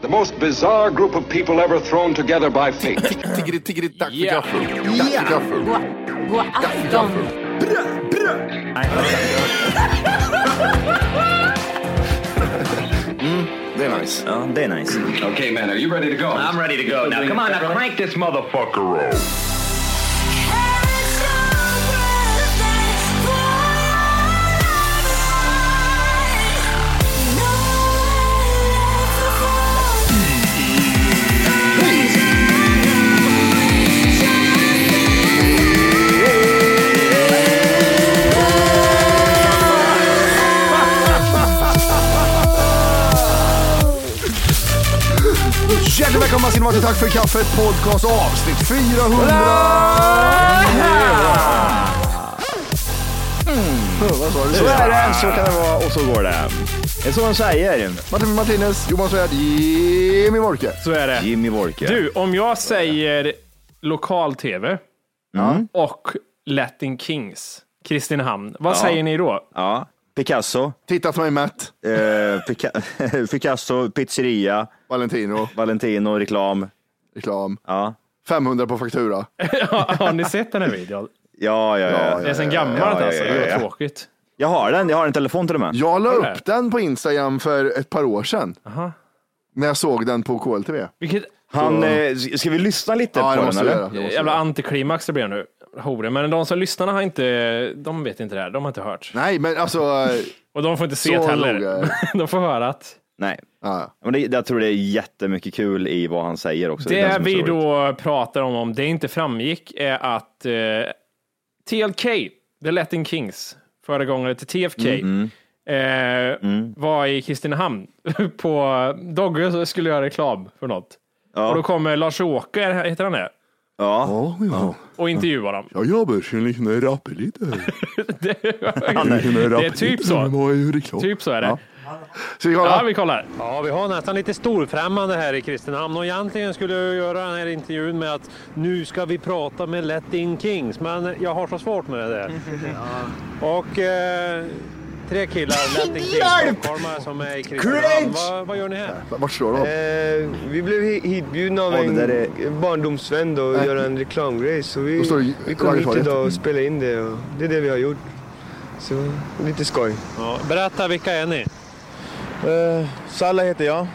The most bizarre group of people ever thrown together by fate. Tiggeri, tiggeri, tack för Ja. gaffel. Tack för gaffel. God Tack för afton! gaffel. Mm, det är nice. Oh, they're nice. okay, man, are you ready to go? I'm ready to go now. Come on, now crank this motherfucker up. Hjärtligt välkomna ska ni vara till Tack för kaffet podcast avsnitt 400! Mm. Vad sa du? Så är det, så kan det vara och så går det. Det är så de säger. Martin Martinez, Johan Svärd, Jimmy Wolke. Så är det. Jimmy Wolke. Du, om jag säger lokal-tv Mm. och Latin Kings, Kristinehamn, vad säger ni då? Ja. Picasso, Titta för mig Matt, eh, Pica- Picasso, pizzeria, Valentino, Valentino, reklam. reklam. Ja, Eh, 500 på faktura. Har ni sett den här videon? ja, ja. ja, Det är sen gammalt ja, ja, alltså. ja, Det ja. var tråkigt. Jag har den, jag har en telefon till och med. Jag la upp den på Instagram för ett par år sedan. Aha. När jag såg den på KLTV. Vilket Han, eh, ska vi lyssna lite Ja, på det den måste jag göra. eller? det måste jag jävla göra. antiklimax det blev nu. Horor. Men de som lyssnar har inte, de vet inte det här. De har inte hört. Nej, men alltså. eh, Och de får inte se Så det heller. noga. De får höra att. Nej. ja. Men det, jag tror det är jättemycket kul i vad han säger också. är Det som är så vi roligt. då pratar om, om det inte framgick, är att eh, TLK, The Latin Kings, föregångare till TFK, Mm, Eh, var i Kristinehamn. på Dogge skulle göra reklam för något. Och då kommer Lars-Åke, heter han det, Ja, Ja, ja. och intervjuar dem. Jag jobbar som en liten rappare lite. det, Det är typ så. Typ så är det. Ja. Ska vi Ja, kolla? vi kollar. Ja, vi har nästan lite storfrämmande här i Kristinehamn och egentligen skulle jag göra den här intervjun med att nu ska vi prata med Let In Kings, men jag har så svårt med det där. Och eh, tre killar, Let In Kings, Hjälp! stockholmare som är i Cringe! Kristinehamn. Vad, vad gör ni här? Vart står de? vi blev hitbjudna av Ja, det en där är- barndomsvän då, att göra en reklamgrej så Då står det- vi kom hit Lagertorget. idag och spelade in det och det är det vi har gjort. Så lite skoj. berätta, vilka är ni? Salla heter jag.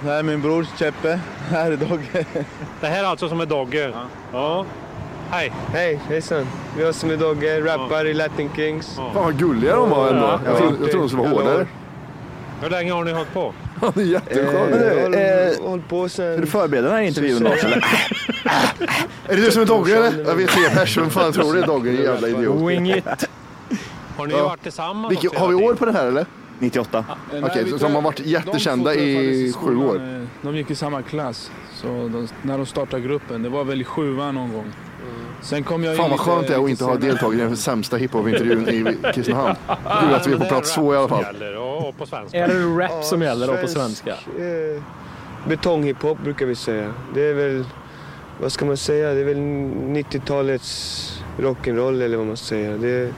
Det här är min bror Cheppe. Här är Dogge. Det här är alltså som är Dogge? Ja. Hej. Hej, hejsan. Jag som är Dogge, rappar i Latin Kings. Fan vad gulliga de var ändå. Jag trodde jag trodde de skulle vara hårdare. Hur länge har ni hållit på? Han är jätteskön. Håll, eh, håll på Ska du sen. förbereda den här intervjun Lars? eller? Är det du som är Dogge eller? Jag vet tre pers. Vem fan tror det är Dogge? din Jävla idiot. Wing it. Har ni varit tillsammans? Vilke, också har vi hela år på den här eller? 98. Okej, så- så Eh, de har varit jättekända i sju år. De gick i samma klass. Så de, när de startade gruppen, det var väl i sjuan någon gång. Sen kom jag Fan in vad lite- skönt det är att lite inte ha senare. deltagit i den sämsta hiphop-intervieven i Kristinehamn. Kul att vi är på tiden? plats två i alla fall. Det gäller, Och och på svenska. Är det rap Ja, som gäller då på svensk, svenska? Eh, betonghiphop brukar vi säga. Det är väl, vad ska man säga, det är väl 90-talets rock'n'roll eller vad man säger. Det är,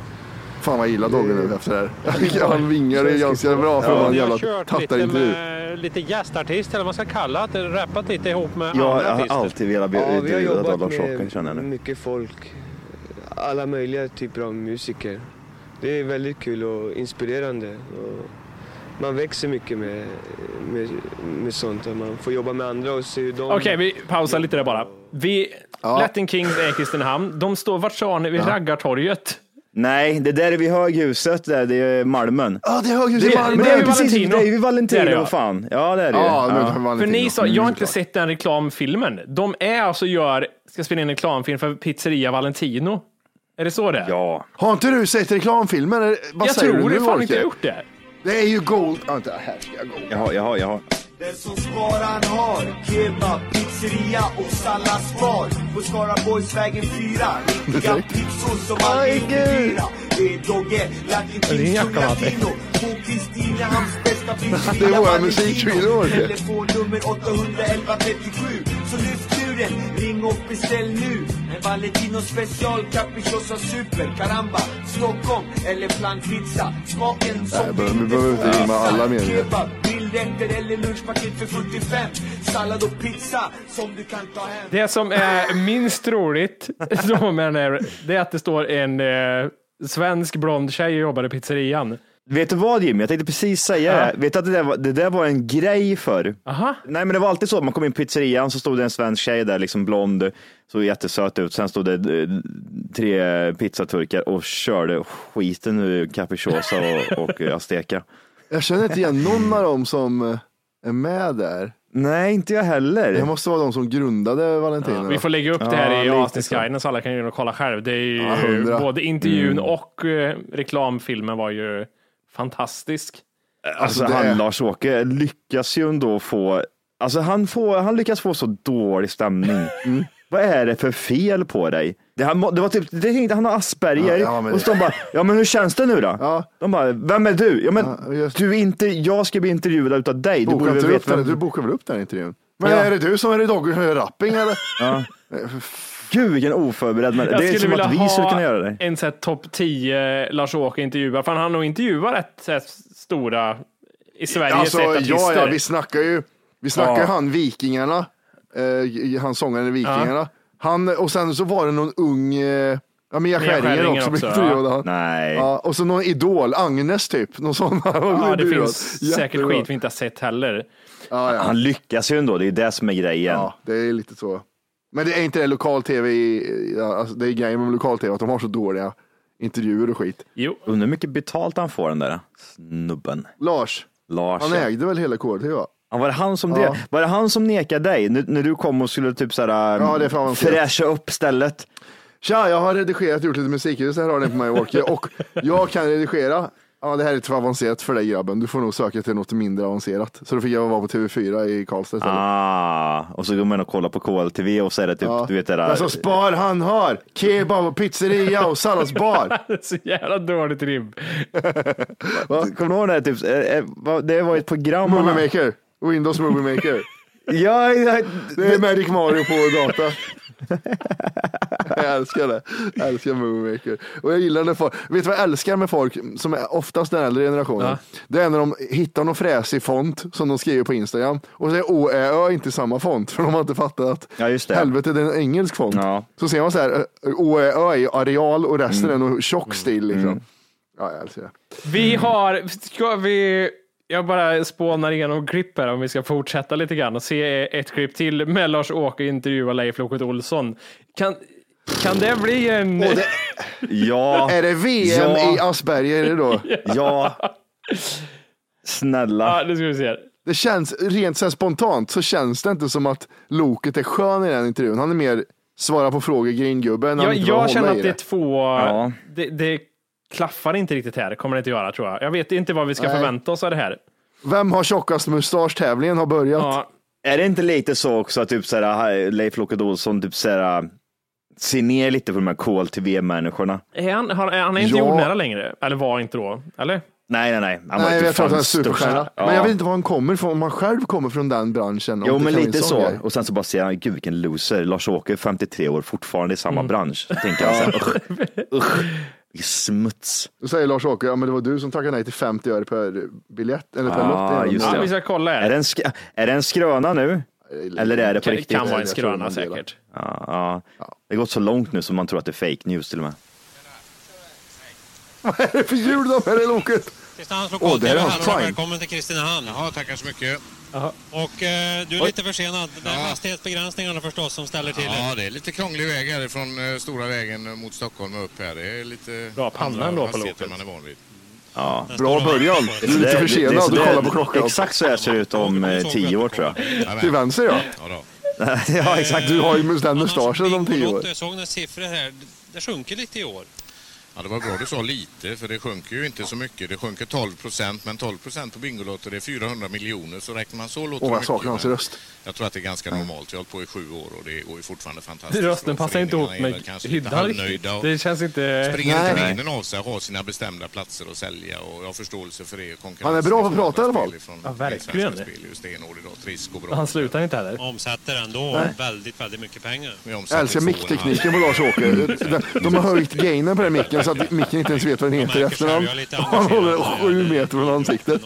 Fan vad jag gillar Dogge nu efter det här. Han vingar det ganska bra för att vara en Ni jävla har kört lite, tattarintervju. med, lite gästartist eller vad man ska kalla det. Rappat lite ihop med Jag andra har artister. alltid velat bli ja, vi har intervjuad av jobbat Lars Åke känner jag med nu. mycket folk. Alla möjliga typer av musiker. Det är väldigt kul och inspirerande. Och man växer mycket med, med, med sånt. Att man får jobba med andra och se hur de... Okej, vi pausar lite där bara. Vi, Latin Kings är i Kristinehamn. De står, vart sa ni? Vid Raggartorget. Nej, det där är vid höghuset där, det är Malmön. Ja, det är höghus i Det- Malmö. Men det är ju vid precis, Valentino. det är ju vid Valentino, Det är det, ja. vad fan. Ja, det är det ju. Ja, nu Ja. tar man För lite ni in. sa, jag har inte såklart. sett den reklamfilmen. De är alltså gör, ska spela in en reklamfilm för pizzeria Valentino. Är det så det är? ja. Har inte du sett reklamfilmen? Eller Vad Jag säger tror du det, nu, fan inte Orke? jag gjort det. Det är ju gold. Vänta, här ska jag gå. Jaha, jaha, jaha. Den som Skaran har Kebab, pizzeria och salladsbar På Skaraborgsvägen 4 Riktiga pizzor som aldrig blir dyra Det är Dogge, Latin är en Kings jacka, och Matti. Latino På Kristinehamns bästa pizzeria Det är våra Valentino. musikhyllor. Telefonnummer 811 37 Så lyft luren, ring och beställ nu En Valentino special, capricciosa super Caramba, Stockholm eller plankpizza Smaken som Nej, vi behöver inte finns. rimma alla meningar. Kebab, grillrätter eller lunchpaket för 45 Sallad och pizza som du kan ta hem Det som är minst roligt då med den här, det är att det står en eh, svensk blond tjej och jobbar i pizzerian. Vet du vad Jimmy, jag tänkte precis säga Ja. det. Vet du att det där, var, det där var en grej förr? Aha. Nej men det var alltid så, man kom in på pizzerian så stod det en svensk tjej där, liksom blond, såg jättesöt ut. Sen stod det eh, tre pizzaturkar och körde skiten ur capricciosa och, och eh, azteca. Jag känner inte igen någon av dem som eh, är med där. Nej, inte jag heller. Det måste vara de som grundade Valentino. då. Vi får lägga upp det här Ja, i lite avsnittsguiden så alla kan ju in och kolla själv. Det är ju Ja, hundra. både Mm. intervjun och eh, reklamfilmen var ju fantastisk. Alltså, Alltså, det- han Lars-Åke lyckas ju ändå få, alltså han, får, han lyckas få så dålig stämning. Mm. Vad är det för fel på dig? Det, här, må- det var typ, det tänkte han har Asperger Ja, ja, men och så de bara, ja men hur känns det nu då? Ja. De bara, vem är du? Ja, men Ja, just- du är inte, jag ska bli intervjuad utav dig. Du Bokar borde inte väl du, upp veta den, du vem... bokar väl upp den intervjun? Men Ja. är det du som är i Dogge Rapping eller? Gud vilken oförberedd man. Det Jag är skulle som vilja att vi skulle kunna göra ha det. en sån här topp 10 Lars-Åke intervjuar, för han har nog intervjuat rätt så här stora i Sverige Alltså, sett artister. ja, ja, vi snackar ju. Vi snackar ju Ja. han Vikingarna, eh, han sångaren i Vikingarna. Han, och sen så var det någon ung, eh, ja Mia Skäringer Skäringer också. också, blev ja. intervjuad, han. Nej. Ja, och så någon idol, Agnes typ. Någon sån. ja, det finns säkert skit vi inte har sett heller. Ja, ja. Han lyckas ju ändå, det är det som är grejen. ja, det är lite så. Men det är inte det lokal-tv, i- ja, alltså, det är grejen med lokal-tv att de har så dåliga intervjuer och skit. Jo, Undrar hur mycket betalt han får den där snubben. Lars, Lars. han ja. ägde väl hela KTV? va? Ja, var, det han som Ja. det, var det han som nekade dig när, när du kom och skulle typ såhär, Ja, det är fan vad han säger. fräscha upp stället? Tja, jag har redigerat och gjort lite musikljus. Här har den på mig Walker. Och jag kan redigera. Ja, det här är för avancerat för dig grabben. Du får nog söka till något mindre avancerat. Så då fick jag vara på TV4 i Karlstad istället. Ah, och så går man och kollar på KLTV och så är det typ, Ja. du vet det där. Alltså spar han har, kebab och pizzeria och salladsbar. så jävla dåligt rim. Kommer du ihåg det här? Typ, eh, eh, vad- det var ett program. Movie maker, Windows Movie maker. Ja, ja, Det är Magic Mario på data. Jag älskar det. Jag älskar Movie Maker. Och jag gillar när folk, vet du vad jag älskar med folk som är oftast den äldre generationen? Det är när de hittar någon fräsig font som de skriver på Instagram och så är O, Ä, Ö inte samma font för de har inte fattat att Ja, just det. helvete det är en engelsk font. Ja. Så ser man så här, O, Ä, Ö är ju areal och resten Mm. är nog tjock stil liksom. Ja, jag älskar det. Vi har, ska vi, jag bara spånar igenom klipp här om vi ska fortsätta lite grann och se ett klipp till med Lars-Åke intervjua Leif Loket Olsson. Kan, kan det bli en... ja, Är det VM Ja. i Asperger då? ja. Snälla. Ja, det ska vi se. Det känns, rent så här spontant så känns det inte som att Loket är skön i den intervjun. Han är mer svara på frågor gringubbe. när han Jag, inte behöver jag känner hålla i att det är två, Ja. det, det klaffar inte riktigt här, kommer det inte göra tror jag. Jag vet inte vad vi ska Nej. förvänta oss av det här. Vem har tjockast mustasch? Tävlingen har börjat. Ja, Är det inte lite så också att typ såhär, Leif Loket Olsson typ såhär, ser ner lite på de här KLTV-människorna? är han, har- är han är inte Ja. jordnära längre, eller var inte då, eller? Nej, nej, nej. Han var Nej, typ jag tror fan att han är superstjärna. störst. Ja. Men jag vet inte var han kommer ifrån, om han själv kommer från den branschen. om Jo, det men kan vara lite en sån så. grej. Och sen så bara ser han, gud vilken loser. Lars-Åke, 53 år, fortfarande i samma Mm. bransch. Så tänker han så här, usch, usch, vilken smuts. Då säger Lars-Åke, ja, men det var du som tackade nej till 50 öre per biljett. Eller per Ah, lott. eller just något. Ja, det. vi ska kolla här. Är det en, sk- är det en skröna nu? Eh, Eller är det på Det riktigt? kan vara en Jag tror skröna man delar. säkert. Ja, ja. Det har gått så långt nu som man tror att det är fake news till och med. Vad är det för ljud de här i loket? Kristinehamns Åh, det är lokal-tv han, här och fine. välkommen till Kristinehamn. Ja, tackar så mycket. Och eh, du är lite försenad. Det är hastighetsbegränsningarna förstås som ställer till Ja, det. det är lite krånglig väg här från eh, stora vägen mot Stockholm och upp här. Det är lite Bra panna andra ändå på hastigheter loket. man är van vid. Ja. Bra början. Du är Det- lite det- det- försenad, du det- kollar på klockan. Exakt så här ser det ut om eh, tio år tror jag. Till vänster ja. Ja, då. ja, exakt. Du har ju den mustaschen om tio år. Lotto, Jag Alltså, såg några siffror här. Det- Det sjunker lite i år. ja, det var bra du sa lite, för det sjunker ju inte så mycket. Det sjunker 12 procent, men 12 procent på Bingolotto det är 400 miljoner. Så räknar man så låter Åh, det vad jag saknar hans men röst. Jag tror att det är ganska normalt. Jag har hållit på i sju år och det går ju fortfarande fantastiskt Rösten bra. passar inte Föreningarna ihop är väl med kanske lite hyddan riktigt. halvnöjda och- Det känns inte... springer Nej. inte benen av sig, har sina bestämda platser att sälja och jag har förståelse för det. Konkurrensen Han är bra på att från andra prata i alla spel fall. ifrån Ja, verkligen. Svenska Spel, just det, Enord idag, Trisk och bra. Han slutar inte heller. Omsätter ändå väldigt, väldigt mycket pengar. Vi omsätter Jag älskar två och en micktekniken halv. på Lars-Åke. De- De har höjt gainen på den micken så att micken inte ens vet vad den heter i efterhand. Han håller sju meter från ansiktet.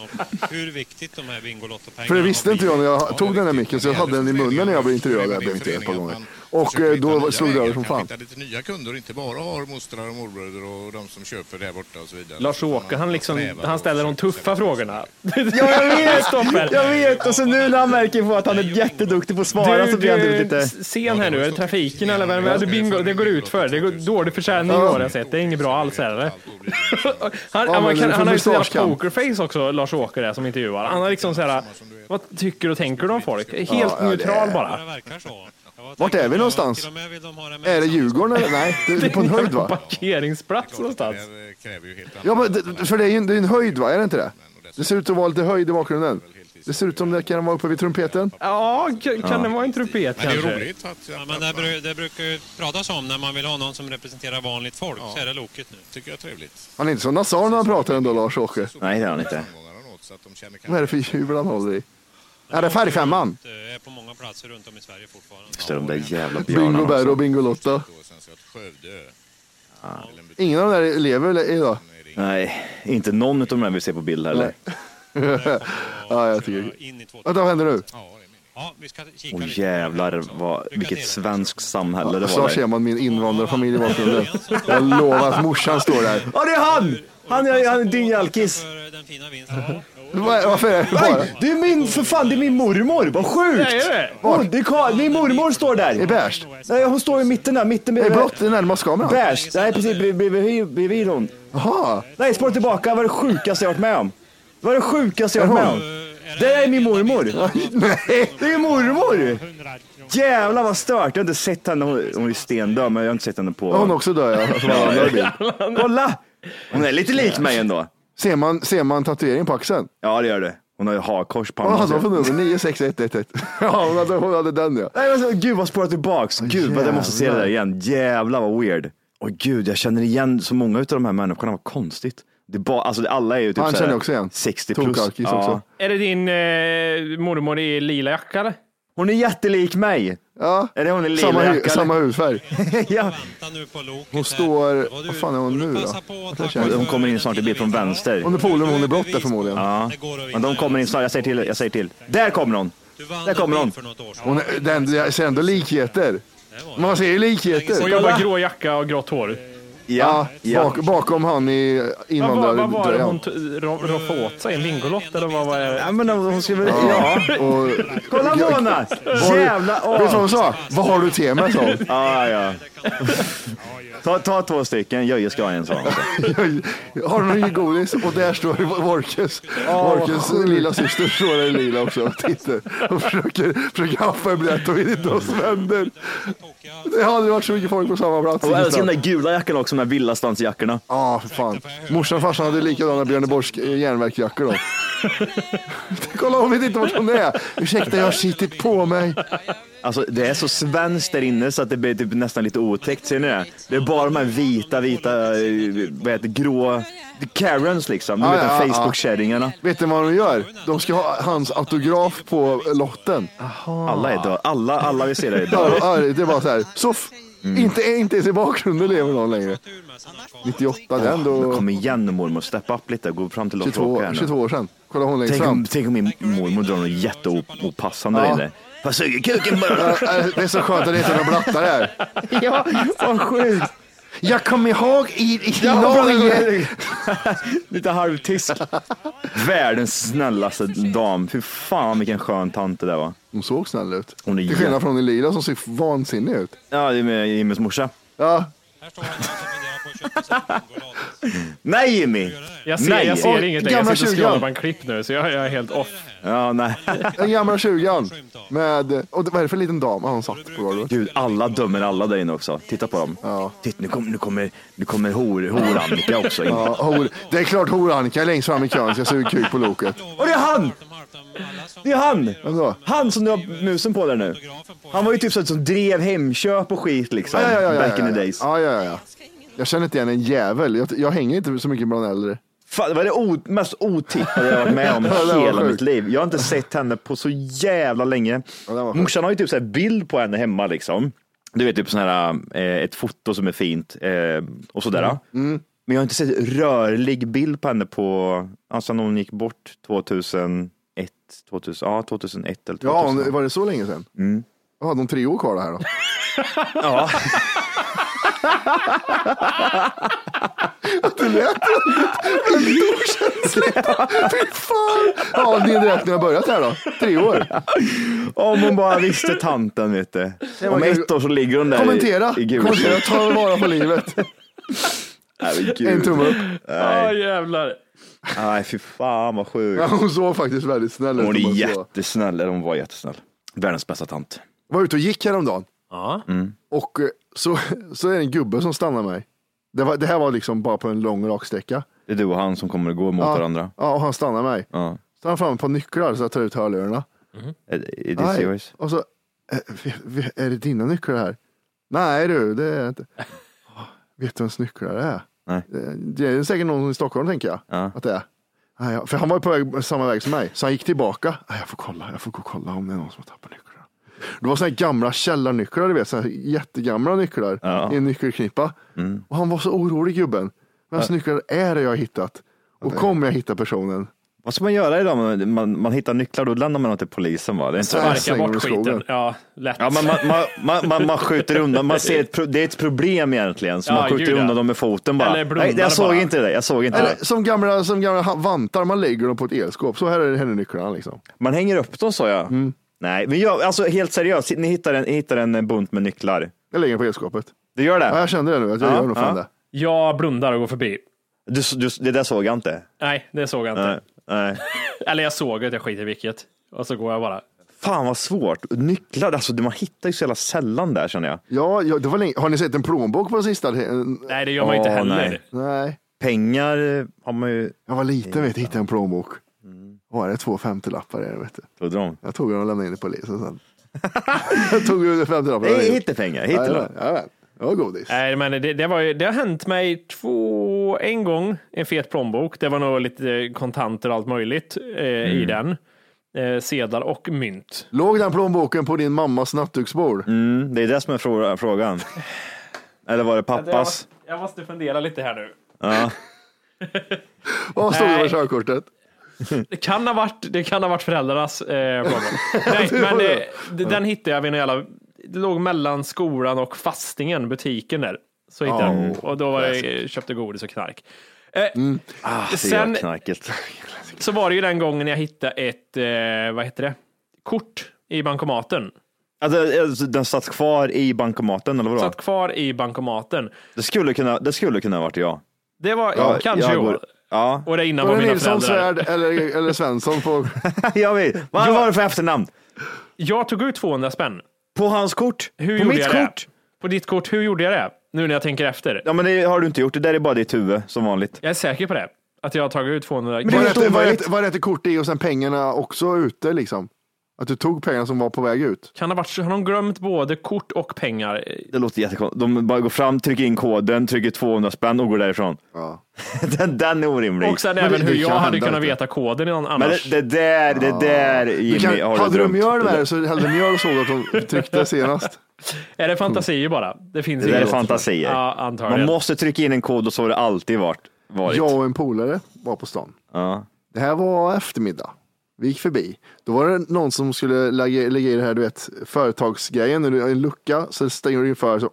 Hur viktigt de här Bingolotto-pengarna För det visste inte jag när jag tog den där micken så jag hade den i munnen när jag blev intervjuad där Föreningen- Bengt ett par gånger. föreningen att man Och försöker eh, hitta då nya slog det vägar, över som kanske fan. hitta lite nya kunder, inte bara har mostrar och morbröder och de som köper där borta och så vidare. Lars-Åke, han, liksom, han ställer de tuffa frågorna. Ja, jag vet! Stopper. Jag vet! Och så nu när han märker på att han är jätteduktig på att svara så blir han typ lite... Sen här nu, är det trafiken eller vad är det? Bingo, det går ut för. Det går dålig försäljning i år har jag sett. Det är inget bra alls heller. Han, Ja, men man kan, det är han har ju sådär mustaschkamp. pokerface också, Lars-Åke där som intervjuar. Han har liksom såhär, vad tycker och tänker du om folk? Helt Ja, ja, det neutral är- bara. verkar så. Jag var Vart tänkt är vi att- någonstans? Till och med vill de ha det med Är det i samma- Djurgården eller? Nej, det är på en höjd va? Parkeringsplats någonstans. kräver ju helt Ja, men det, för det är ju en, det är en höjd va, är det inte det? Det ser ut att vara lite höjd i bakgrunden. Det ser ut som det kan vara uppe vid trumpeten. Ja, kan, kan det vara en trumpet Men det är kanske? roligt att... Ja, men det, bru- det brukar ju pratas om när man vill ha någon som representerar vanligt folk så är det loket nu. tycker jag är trevligt. Han är inte som Nassar när han pratar ändå Lars-Åke. Nej, det är han inte. Vad är det för jubel han håller i? Är det färgfemman? Det är på många platser runt om i Sverige fortfarande. Just det, de där jävla Bingo björnarna Berro och också. Bingo Lotta. Ingen av de där lever idag. Nej, inte någon av de där vi ser på bild heller. Ja, jag tycker... In i två... Vänta, vad händer nu? Ja, vi ska kika Åh lite. jävlar, vad, vilket svenskt samhälle det var Snart ser där. man min invandrarfamilj i bakgrunden. Jag lovar att morsan står där. Ja, det är han! Han är, han är din jalkis. För den fina vinsten. Vad- Varför är det bara? Det är min, för fan, det är min mormor. Vad sjukt! är det? Hon, det är Karl, min mormor står Är där. bärst? Nej, hon står i mitten där, mitten Är bredvid. blått är närmast kameran? Bärs. Nej, precis, bredvid- bredvid bredvid hon. Jaha! Nej, spår tillbaka. Det var det sjukaste jag varit med om. Det var det sjukaste jag varit med om. Det är min mormor. Det är mormor! Jävlar vad stört. Jag har inte sett henne. Hon hon är stendöd, men jag har inte sett henne Ja, Hon på... också dör ja. Alltså, Som alla andra i bild. Kolla! Hon är lite lik mig ändå. Ser man, ser man tatueringen på axeln? Ja, det gör du. Hon har ju hakkors på Vad hade armarna. hon för nummer? 96111. Ja, hon hade, hon hade den ja. Nej, men, gud vad spårat tillbaks. Gud vad jag måste se det där igen. Jävlar vad weird. Och gud, jag känner igen så många av de här människorna. Vad konstigt. Det är bara, alltså, alla är ju typ Han så här känner jag också igen. 60 plus. Tokakis också. Är det din eh, mormor i lila jacka eller? Hon är jättelik mig. Ja. Är det hon i lila Samma, hu- jacka, samma hudfärg. eller? ja. Vänta nu på loket. Hon här. står- Vad vad fan är hon får du nu då? passa på att Jag tacka känner- för Hon kommer in den snart i fina bild från vinsten. vänster. Hon är polare, hon är blått Bevis där på- förmodligen. Ja. Det går att vinna. Men de kommer in snart. Jag säger till. Jag säger till. Där kommer hon. Du vann Där kommer en hon. bil För något år sedan. Hon är, den, jag ser ändå likheter. Det var det. Man ser ju Hon likheter. jobbar grå jacka och grått hår. Ja, Ja. ja. bak, bakom han i Vad var, vad var det hon invandrardröjan. t- ro- roffade åt sig? En Bingolott eller vad var det? ja men hon hon ska väl... Ja. Och, Kolla Mona! Jävla... Vet du vad hon Åh. sa? Vad har du till mig? sa hon. Ja, ja. Ta, ta två stycken. Göje ska ha en sån. Har du någon godis? Och där står Vorkes. Vorkes lilla syster står där i lila också och tittar och försöker, försöker haffa en biljett och vet inte vad som händer. Det har aldrig varit så mycket folk på samma plats. Och jag älskar den där gula jackan också, de där villastansjackorna. Ja, för fan. Morsan och farsan hade likadana Björneborgs eh, järnverksjackor då. Kolla, hon vet inte vart hon är. Ursäkta, jag har skitit på mig. Alltså det är så svenskt där inne så att det blir typ nästan lite otäckt, ser ni det? Det är bara de här vita, vita, eh, vad heter det, grå Karens liksom. Du Ja, vet de ja, ja. Facebook-kärringarna. Vet du vad de gör? De ska ha hans autograf på lotten. Alla är döda, alla, alla vi ser där är Ja, döda. ja, det är bara så här. Soff. Mm. Inte, inte ens i bakgrunden lever någon längre. 98, det är Men ändå Kom igen nu mormor, steppa upp lite, gå fram till Lars 22, Åke här nu. 22 år sedan. Kolla hon längst Tänk fram. om, tänk om min mormor drar något jätteopassande Ja. där inne. Vad suger kuken bara? Äh, Det är så skönt att det inte är några blattar här. Ja, vad sjukt. Jag kommer ihåg i, i Ja, bra, Norge. Lite halvtysk. Världens snällaste dam. Fy fan vilken skön tant det där var. Hon såg snäll ut. Hon är Till skillnad jätte- från Elira som ser vansinnig ut. Ja, det är med Jimmys morsa. Ja. Nej Jimmy! Jag ser, Nej. jag ser Oj, inget längre. Jag gamla sitter och tjugan. scrollar på en klipp nu, så jag, jag är helt off. Ja, nej. Den gamla tjugan. Med, och det- vad är det för liten dam? Ja, hon satt på golvet. Gud, alla dömer alla där inne också. Titta på dem. Titta, nu kommer, nu kommer, nu kommer hor, hor-Annika också in. Ja, hor, det är klart hor-Annika är längst fram i kön ska suga kuk på loket. Och det är han! Det är han! Han som du har musen på där nu. Han var ju typ sån som drev Hemköp och skit liksom. Ja, ja, ja, ja, back in ja, the ja. days. Ja, ja, ja, ja. Jag känner inte igen en jävel. Jag, jag hänger inte så mycket bland äldre. Fan, det var det o- mest otippade jag har varit med om Ja, det var hela sjukt. mitt liv. Jag har inte sett henne på så jävla länge. Morsan har ju typ så här bild på henne hemma liksom. Du vet, typ sån här, eh, ett foto som är fint eh, och sådär. Mm, Men jag har inte sett rörlig bild på henne på, alltså när hon gick bort 2001, 2000, ja 2001 eller 2000. Ja, hon- var det så länge sedan? Mm. Vad hade hon tre år kvar det här då? Ja. Det lät väldigt- väldigt okänsligt. Fy fan. Ja, din räkning har börjat här då. Tre år. Om hon bara visste tanten vet du. var Om kul. ett år så ligger hon där Kommentera. i, i gult. Kommentera. Ta vara på livet. Nej, men gud. En tumme upp. Nej. Åh, jävlar. Nej, fy fan vad sjukt. Ja, hon såg faktiskt väldigt snäll ut. Hon om är man så. jättesnäll, eller hon var jättesnäll. Världens bästa tant. Jag var ute och gick häromdagen. Ja. Mm. Och eh, så, så är det en gubbe som stannar mig. Det, var, det här var liksom bara på en lång raksträcka. Det är du och han som kommer att gå mot Ja. varandra. Ja, och han stannar mig. Ja. Så han fram på nycklar så jag tar ut hörlurarna. It it is Nej. yours. Och så, eh, vi- vi- är det dina nycklar här? Nej du, det är jag inte. "Åh, Vet du vems nycklar det är? Nej. Det- Det är säkert någon i Stockholm tänker jag. Ja. Att det är. Nej, ja, För han var ju på väg, samma väg som mig, så han gick tillbaka. Nej, Jag får kolla, jag får gå och kolla om det är någon som har tappat nycklarna. Det var sådana här gamla källarnycklar, du vet, sådana här jättegamla nycklar Ja. i en nyckelknippa. Mm. Och han var så orolig gubben. Vems nycklar är det jag har hittat? Och kommer jag hitta personen? Vad ska man göra idag? Man, man, man hittar nycklar, då lämnar man dem till polisen va? Det är inte så. Nej. Sparka slänger dem i bort skogen. skiten. Ja, lätt. Ja, man, man, man, man, man, man skjuter undan, man ser ett, pro- det är ett problem egentligen, så Ja, man skjuter gud, ja. undan dem med foten bara. Eller blundar Nej, jag såg bara. inte det, jag såg inte Eller det. som gamla, som gamla ha- vantar, man lägger dem på ett elskåp. Så här är det här är nycklarna liksom. Man hänger upp dem sa jag. Mm. Nej, men jag, alltså helt seriöst, ni hittar en, ni hittar en bunt med nycklar. Jag lägger dem på elskåpet. Du gör det? Ja, jag kände det nu, att jag Ja, gör nog fan ja. det. Jag blundar och går förbi. Du, du, det där såg jag inte. Nej, det såg jag inte. Nej. Nej. Eller jag såg att jag skiter i vilket. Och så går jag bara. Fan vad svårt. Nycklar, alltså man hittar ju så jävla sällan där känner jag. Ja, ja, det var länge. Har ni sett en plånbok på sista? Nej. Nej, det gör man inte Åh, heller. nej. Nej. Pengar eh, har man ju, Jag var liten vet du, hittade en plånbok. Var det två femtiolappar i den, vet du? trodde de. Jag tog den och lämnade in i polisen sen. jag tog ut femtiolappar. Nej, Hitta pengar, hitta Jajamän, dem. jajamän. Det var godis. Nej, men det, det, var, ju- det har hänt mig två, en gång, en fet plånbok. Det var nog lite kontanter och allt möjligt eh, Mm. i den. Eh, sedlar och mynt. Låg den plånboken på din mammas nattduksbord? Mm, det är det som är frå- frågan. Eller var det pappas? Jag måste fundera lite här nu. Ja. Vad stod det på Nej. körkortet? Det kan ha varit, det kan ha varit föräldrarnas eh, plånbok. Nej, Det var men det. det, det, den hittade jag vid någon jävla... Det låg mellan skolan och fastingen, butiken där. Så hittade jag den. Oh, Och då var jag, köpte godis och knark. Eh, Ah, det Sen- är knarket. Så var det ju den gången jag hittade ett, eh, vad heter det, kort i bankomaten. Alltså, alltså, den satt kvar i bankomaten eller vadå? Satt kvar i bankomaten. Det skulle kunna, det skulle kunna varit jag. Det var kanske jag jag. går- Ja, Och det innan Var var det mina Nilsson, föräldrar. Svärd eller, eller Svensson? På... jag vet. Vad var det för efternamn? Jag tog ut 200 spänn. På hans kort? Hur på gjorde mitt jag det? kort? På ditt kort, hur gjorde jag det? Nu när jag tänker efter. Ja, men det har du inte gjort. Det där är bara ditt huvud som vanligt. Jag är säker på det. Att jag har tagit ut 200. det är Var ju det, inte- var, det, omöjligt. inte- var det inte kort i och sen pengarna också ute liksom? Att du tog pengarna som var på väg ut? Kan ha varit, har de glömt både kort och pengar? Det låter jättekonstigt. De bara går fram, trycker in koden, trycker 200 spänn och går därifrån. Ja. Den, den är orimlig. Och sen Men även det- hur det jag kan hade hända kunnat inte. veta koden i någon Men annars. det, det där, det där Jimmy, Du kan, har hade du drömt. mjöl Det med där- dig så hällde mjöl och såg att de tryckte senast. Är det fantasier bara? Det finns Det där är inget. fantasier. Ja, Man antagligen. måste trycka in en kod och så har det alltid varit. varit. Jag och en polare var på stan. Ja. Det här var eftermiddag. Vi gick förbi. Då var det någon som skulle lägga, lägga i det här du vet, företagsgrejen. när du har En lucka, så stänger du in för så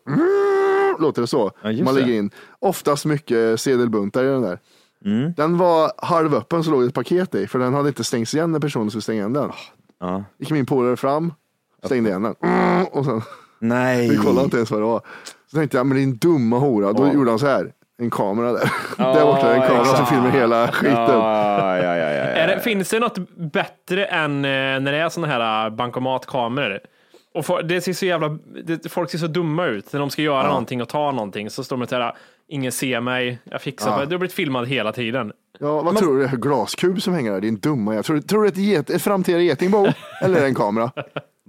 låter det så? just man det. lägger in oftast mycket sedelbuntar i den där. Mm. Den var halvöppen så låg det ett paket i, för den hade inte stängts igen när personen skulle stänga igen den. Ja. Gick min polare fram, stängde igen den. Och sen, Nej. vi kollade inte ens vad det var. Så tänkte jag, men din dumma hora. Då gjorde han så här, en kamera där. där borta är en kamera som exakt. filmar hela skiten. Ja, ja, ja, ja, Är det, finns det något bättre än eh, när det är sådana här eh, bankomatkameror? Och for, det ser så jävla, det, folk ser så dumma ut när de ska göra någonting och ta någonting. Så står de så här, ingen ser mig, jag fixar Ja. bara. Du har blivit filmad hela tiden. Ja, vad tror du det är för glaskub som hänger där? Din dumma jävel. Tror, du- tror du det är ett, get, ett framtida getingbo eller en kamera?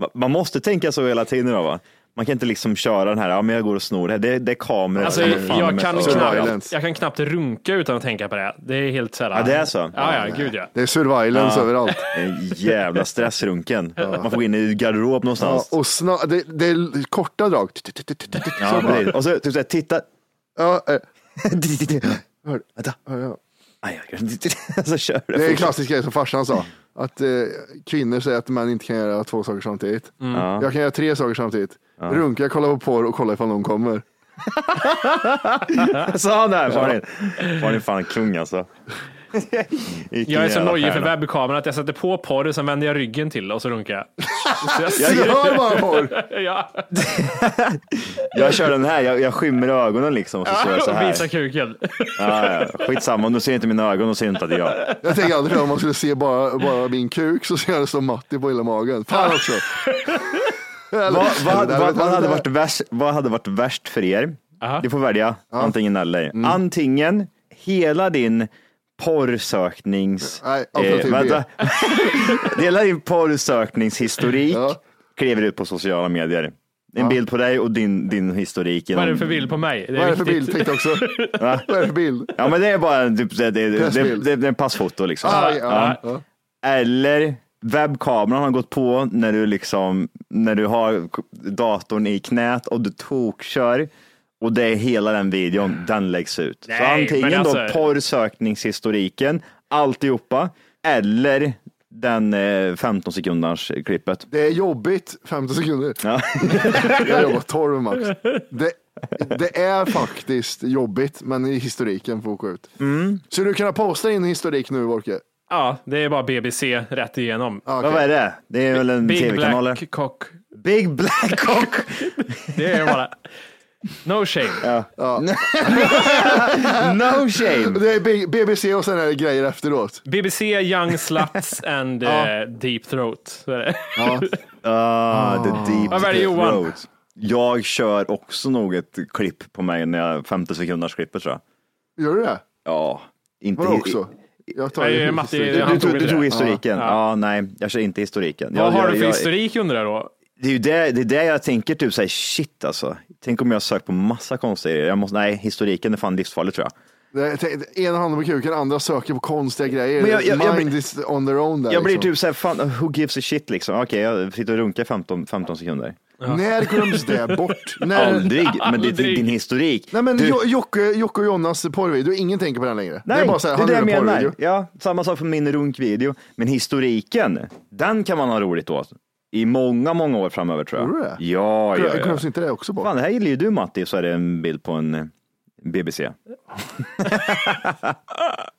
Ma- Man måste tänka så hela tiden då va? Man kan inte liksom köra den här, ja men jag går och snor det här. Det, det är kameror. Alltså, Det är fan jag, med kan knappt, surveillance. jag kan knappt runka utan att tänka på det. Det är helt så här. Ja, det är så? Ja, ja, gud ja. Det är surveillance Ja. överallt. En jävla stressrunken. Man får gå in i garderob Ja, någonstans. och sna, det, det är korta drag. Ja, Så bara- precis. och så typ såhär, titta. Ja, eh, hör- Vänta. hör jag. Aj, aj, så kör Det är en klassisk grej som farsan sa. Att eh, kvinnor säger att man inte kan göra två saker samtidigt. Mm. Ja. Jag kan göra tre saker samtidigt. Runka, kolla på porr och kolla ifall någon kommer. Sa han det här Farin? Farin fan kung alltså. Vilken Jag är så jävla nojig för stjärna. webbkameran att jag sätter på porr, sen vänder jag ryggen till och så runkar jag. Så Alltså, Jag hör bara porr! ja. Jag kör den här, jag, jag skymmer ögonen liksom. Och så står jag så Och här. visar kuken. Ja, ja. Skitsamma, om du ser inte mina ögon och ser inte att det är jag. Jag tänker alltid om man skulle se bara, bara min kuk så ser jag det som Matti på hela magen. Fan också. Eller- Vad, vad, eller- vad, vad, hade varit värst, vad hade varit värst för er? Du får välja antingen eller. Mm. Antingen hela din porrsöknings... Nej, alternativ Eh, vänta. hela din porrsökningshistorik Ja. kliver ut på sociala medier. En bild på dig och din, din historik. Vad är det genom- för bild på mig? Det Vad är det för viktigt. bild? Tänkte jag också. Vad är det för bild? Ja, men det är bara en typ, det, det, det, det, Pressbild. det, det är en passfoto liksom. Ah, ja, ja. Eller webbkameran har gått på när du liksom, när du har datorn i knät och du tokkör och det är hela den videon, den läggs ut. Så Nej, men antingen då alltså- porrsökningshistoriken, alltihopa, eller den eh, 15 sekunders klippet. Det är jobbigt, 15 sekunder. Ja. Jag jobbar 12 max. Det, det är faktiskt jobbigt, men i historiken får åka ut. Mm. Så du kan posta in historik nu, Wolke? Ja, det är bara BBC rätt igenom. Ah, Vad okej. är det? Det är väl en Big tv-kanal? eller? Black Cock. Big Black Cock. Det är bara... No shame. No shame. Det är B- BBC och sen är det grejer efteråt. BBC, Young Sluts and eh, Deep Throat. Så är det. Ah, the deep Vad väljer Johan? throat. Jag kör också nog ett klipp på mig när jag 50 sekunders klippet tror jag. Gör du det? Ja, inte Vadå också? Jag tar Nej, det. Matti, Du, du, Han tog tog, inte du tog det. historiken. Ja. nej, jag kör inte historiken. Vad jag, har jag, du för jag, historik undrar jag då? Det är ju det, det, är det jag tänker, typ såhär, shit alltså. Tänk om jag sökt på massa konstiga grejer. Jag måste, nej, historiken är fan livsfarlig tror jag. Det- tänk- Ena handen på kuken, andra söker på konstiga grejer. Men jag- jag- jag- Mind is on their own där. jag blir liksom. typ såhär, fan, who gives a shit liksom. Okej, jag sitter och runkar 15, 15 sekunder. När glöms det bort? När... Aldrig, men det är Aldrig. din historik. Nej men Du- Jo- Jocke, Jocke och Jonas porrvideo, ingen tänker på den längre. Nej, det är bara så här, han det jag gjorde menar. porrvideo. Ja, samma sak för min runkvideo. Men historiken, den kan man ha roligt åt. I många, många år framöver tror jag. Tror du det? Ja, ja, ja. Glöms inte det också bort? Fan, det här gillar ju du Matti, så är det en bild på en eh, BBC.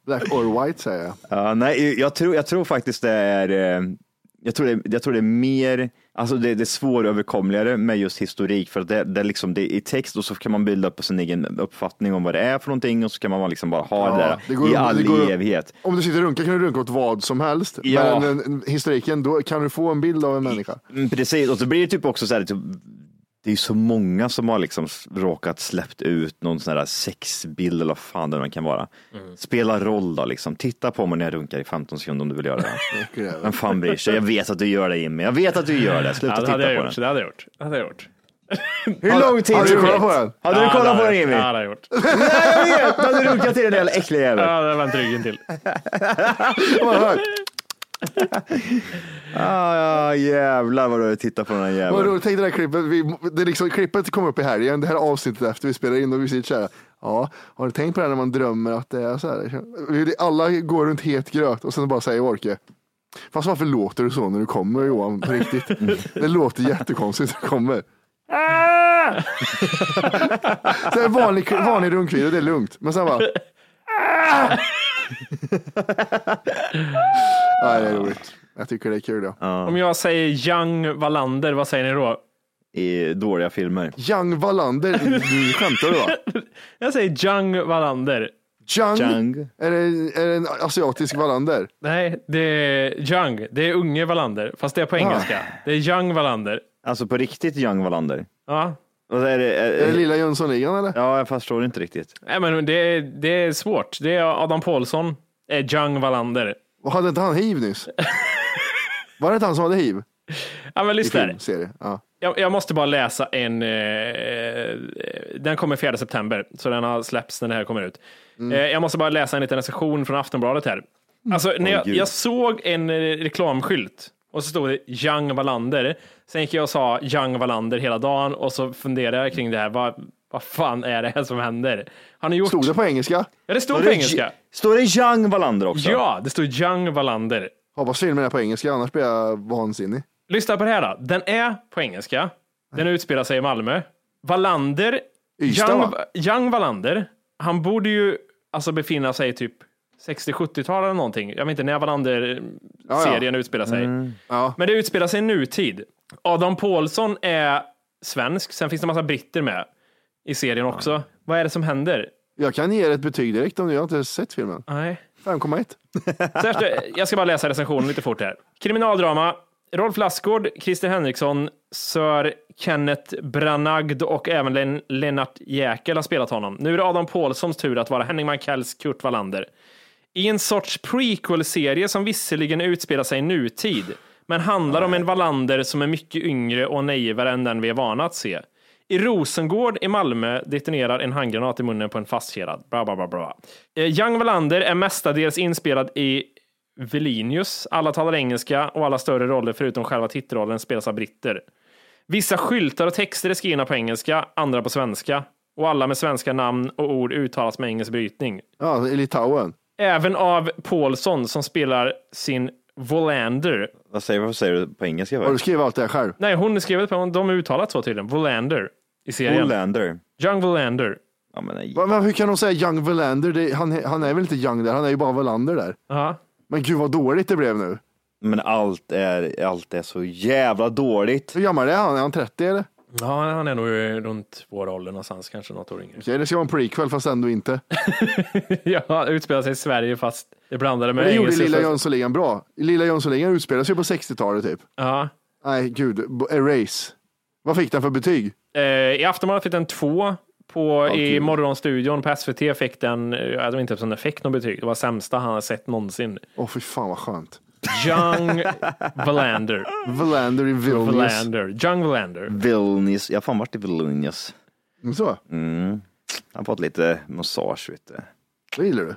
Black or white säger jag. Ja, nej, jag tror, jag tror faktiskt det är, eh, jag tror det, jag tror det är mer, alltså det, det är svåröverkomligare med just historik för att det, det är liksom, det är i text och så kan man bilda upp sin egen uppfattning om vad det är för någonting och så kan man liksom bara ha det Ja, där det går i upp- all det går upp. evighet. Om du sitter och runkar kan du runka åt vad som helst. Ja. Men en, en, historiken, då kan du få en bild av en människa. Mm, Precis, och så blir det typ också så här, typ, det är ju så många som har liksom s- råkat släppt ut någon sån här sexbild eller vad fan det nu kan vara. Mm. Spela roll då liksom, titta på mig när jag runkar i 15 sekunder om du vill göra Mm. det. Vem fan bryr sig? Jag vet att du gör det Jimmy, jag vet att du gör det. Sluta Ja, det titta hade jag på gjort. den. Det hade jag gjort. Det hade jag gjort. Hur lång tid Har du tog kollat det? på den? Har du Ja, det kollat på hade den jag- Jimmy? Ja, det hade jag gjort. Nej, jag vet! Du hade runkat till den jävla äckliga jäveln. Ja, det vänt ryggen till. Vad har du hört? Ah, ja, jävlar vad du tittar på den här Vad jäveln. roligt, tänk det där klippet. Vi, det är liksom, klippet kom upp i helgen, det här avsnittet efter vi spelar in och vi sitter så här. Ja, har du tänkt på det här när man drömmer att det är så här? Vi- Alla går runt het gröt och sen bara säger Orke. Fast varför låter du så när du kommer Johan på riktigt? Det låter jättekonstigt när du kommer. Ah! Så här vanlig, vanlig rundkvira, det är lugnt. Men sen bara... Ah! Nej, det är roligt. Jag tycker det är kul. Ja. Om jag säger Young Wallander, vad säger ni då? I dåliga filmer. Young Wallander, du skämtar du va? Jag säger Young Wallander. Young? Young. Är, det, är det en asiatisk Wallander? Nej, det är Young. Det är unge Wallander, fast det är på engelska. Det är Young Wallander. Alltså på riktigt Young Wallander. Ja. Och är det, är, det lilla Jönssonligan eller? Eh, Ja, jag förstår inte riktigt. Nej, men det, är- det är svårt. Det är Adam Paulsson, är Young Wallander. Och hade inte han hiv nyss? Var det inte han som hade hiv? Ja, men I lyssna här. film, serie. Ja. Jag, jag måste bara läsa en... eh, Eh, den kommer 4 september, så den har släppts när det här kommer ut. Eh, jag måste bara läsa en liten recension från Aftonbladet här. Alltså, när Åh, jag, gud. jag såg en eh, reklamskylt och så stod det Young Wallander. Sen gick jag och sa Young Wallander hela dagen och så funderade jag kring det här. Vad, vad fan är det här som händer? Han har gjort... Stod det på engelska? Ja, det stod Var på det engelska. Står det Young Wallander också? Ja, det stod Young Wallander. Hoppas filmen är på engelska, annars blir jag vansinnig. Lyssna på det här då. Den är på engelska. Den utspelar sig i Malmö. Wallander, Ystad, Young, va? Young Wallander, han borde ju alltså befinna sig i typ 60-70-tal eller någonting. Jag vet inte när Wallander-serien utspelar sig. Mm. Men det utspelar sig i nutid. Adam Paulsson är svensk, sen finns det en massa britter med i serien också. Vad är det som händer? Jag kan ge er ett betyg direkt om du jag har inte sett filmen. Nej. 5,1. Så efter, jag ska bara läsa recensionen lite fort här. Kriminaldrama. Rolf Lassgård, Christer Henriksson, Sir Kenneth Branagd och även Len- Lennart Jäkel har spelat honom. Nu är det Adam Paulssons tur att vara Henning Mankells Kurt Wallander. I en sorts prequel-serie som visserligen utspelar sig i nutid, men handlar om en Wallander som är mycket yngre och naivare än den vi är vana att se. I Rosengård i Malmö detonerar en handgranat i munnen på en fastkedjad. Bra, bra, bra, bra. Eh, Young Wallander är mestadels inspelad i Vilnius. Alla talar engelska och alla större roller förutom själva titelrollen spelas av britter. Vissa skyltar och texter är skrivna på engelska, andra på svenska. Och alla med svenska namn och ord uttalas med engelsk brytning. Ja, i Litauen. Även av Paulsson som spelar sin Volander. Vad säger, vad säger du på engelska? Har du skrivit allt det här själv? Nej, hon skrev det på honom. De har uttalat så tydligen. Volander i serien. Wallander. Young Volander. Ja, men nej. Va- Men hur kan de säga Young Wallander? Det, han, han är väl inte Young där, han är ju bara Wallander där. Ja. Men gud vad dåligt det blev nu. Men allt är, allt är så jävla dåligt. Hur gammal är han? Är han 30 eller? Ja, han är nog runt vår ålder någonstans, kanske något år yngre. Okej, det ska vara en prequel fast ändå inte. ja, utspelar sig i Sverige fast det blandade Men med det gjorde engelska. Lilla så- Jönssonligan bra. Lilla Jönssonligan utspelar sig på 60-talet typ. Ja. Nej, gud. B- Erase. Vad fick den för betyg? Eh, I Aftonbladet fick den två. På, I Morgonstudion på SVT fick den, eh, jag vet inte ens om den fick något betyg, det var sämsta han har sett någonsin. Åh, fy fan vad skönt. Young Wallander. Wallander i Vilnius. Wallander. Young Wallander. Vilnius. Jag har fan varit i Vilnius. Så, Mm. Jag har fått lite massage, vet du. det gillar du.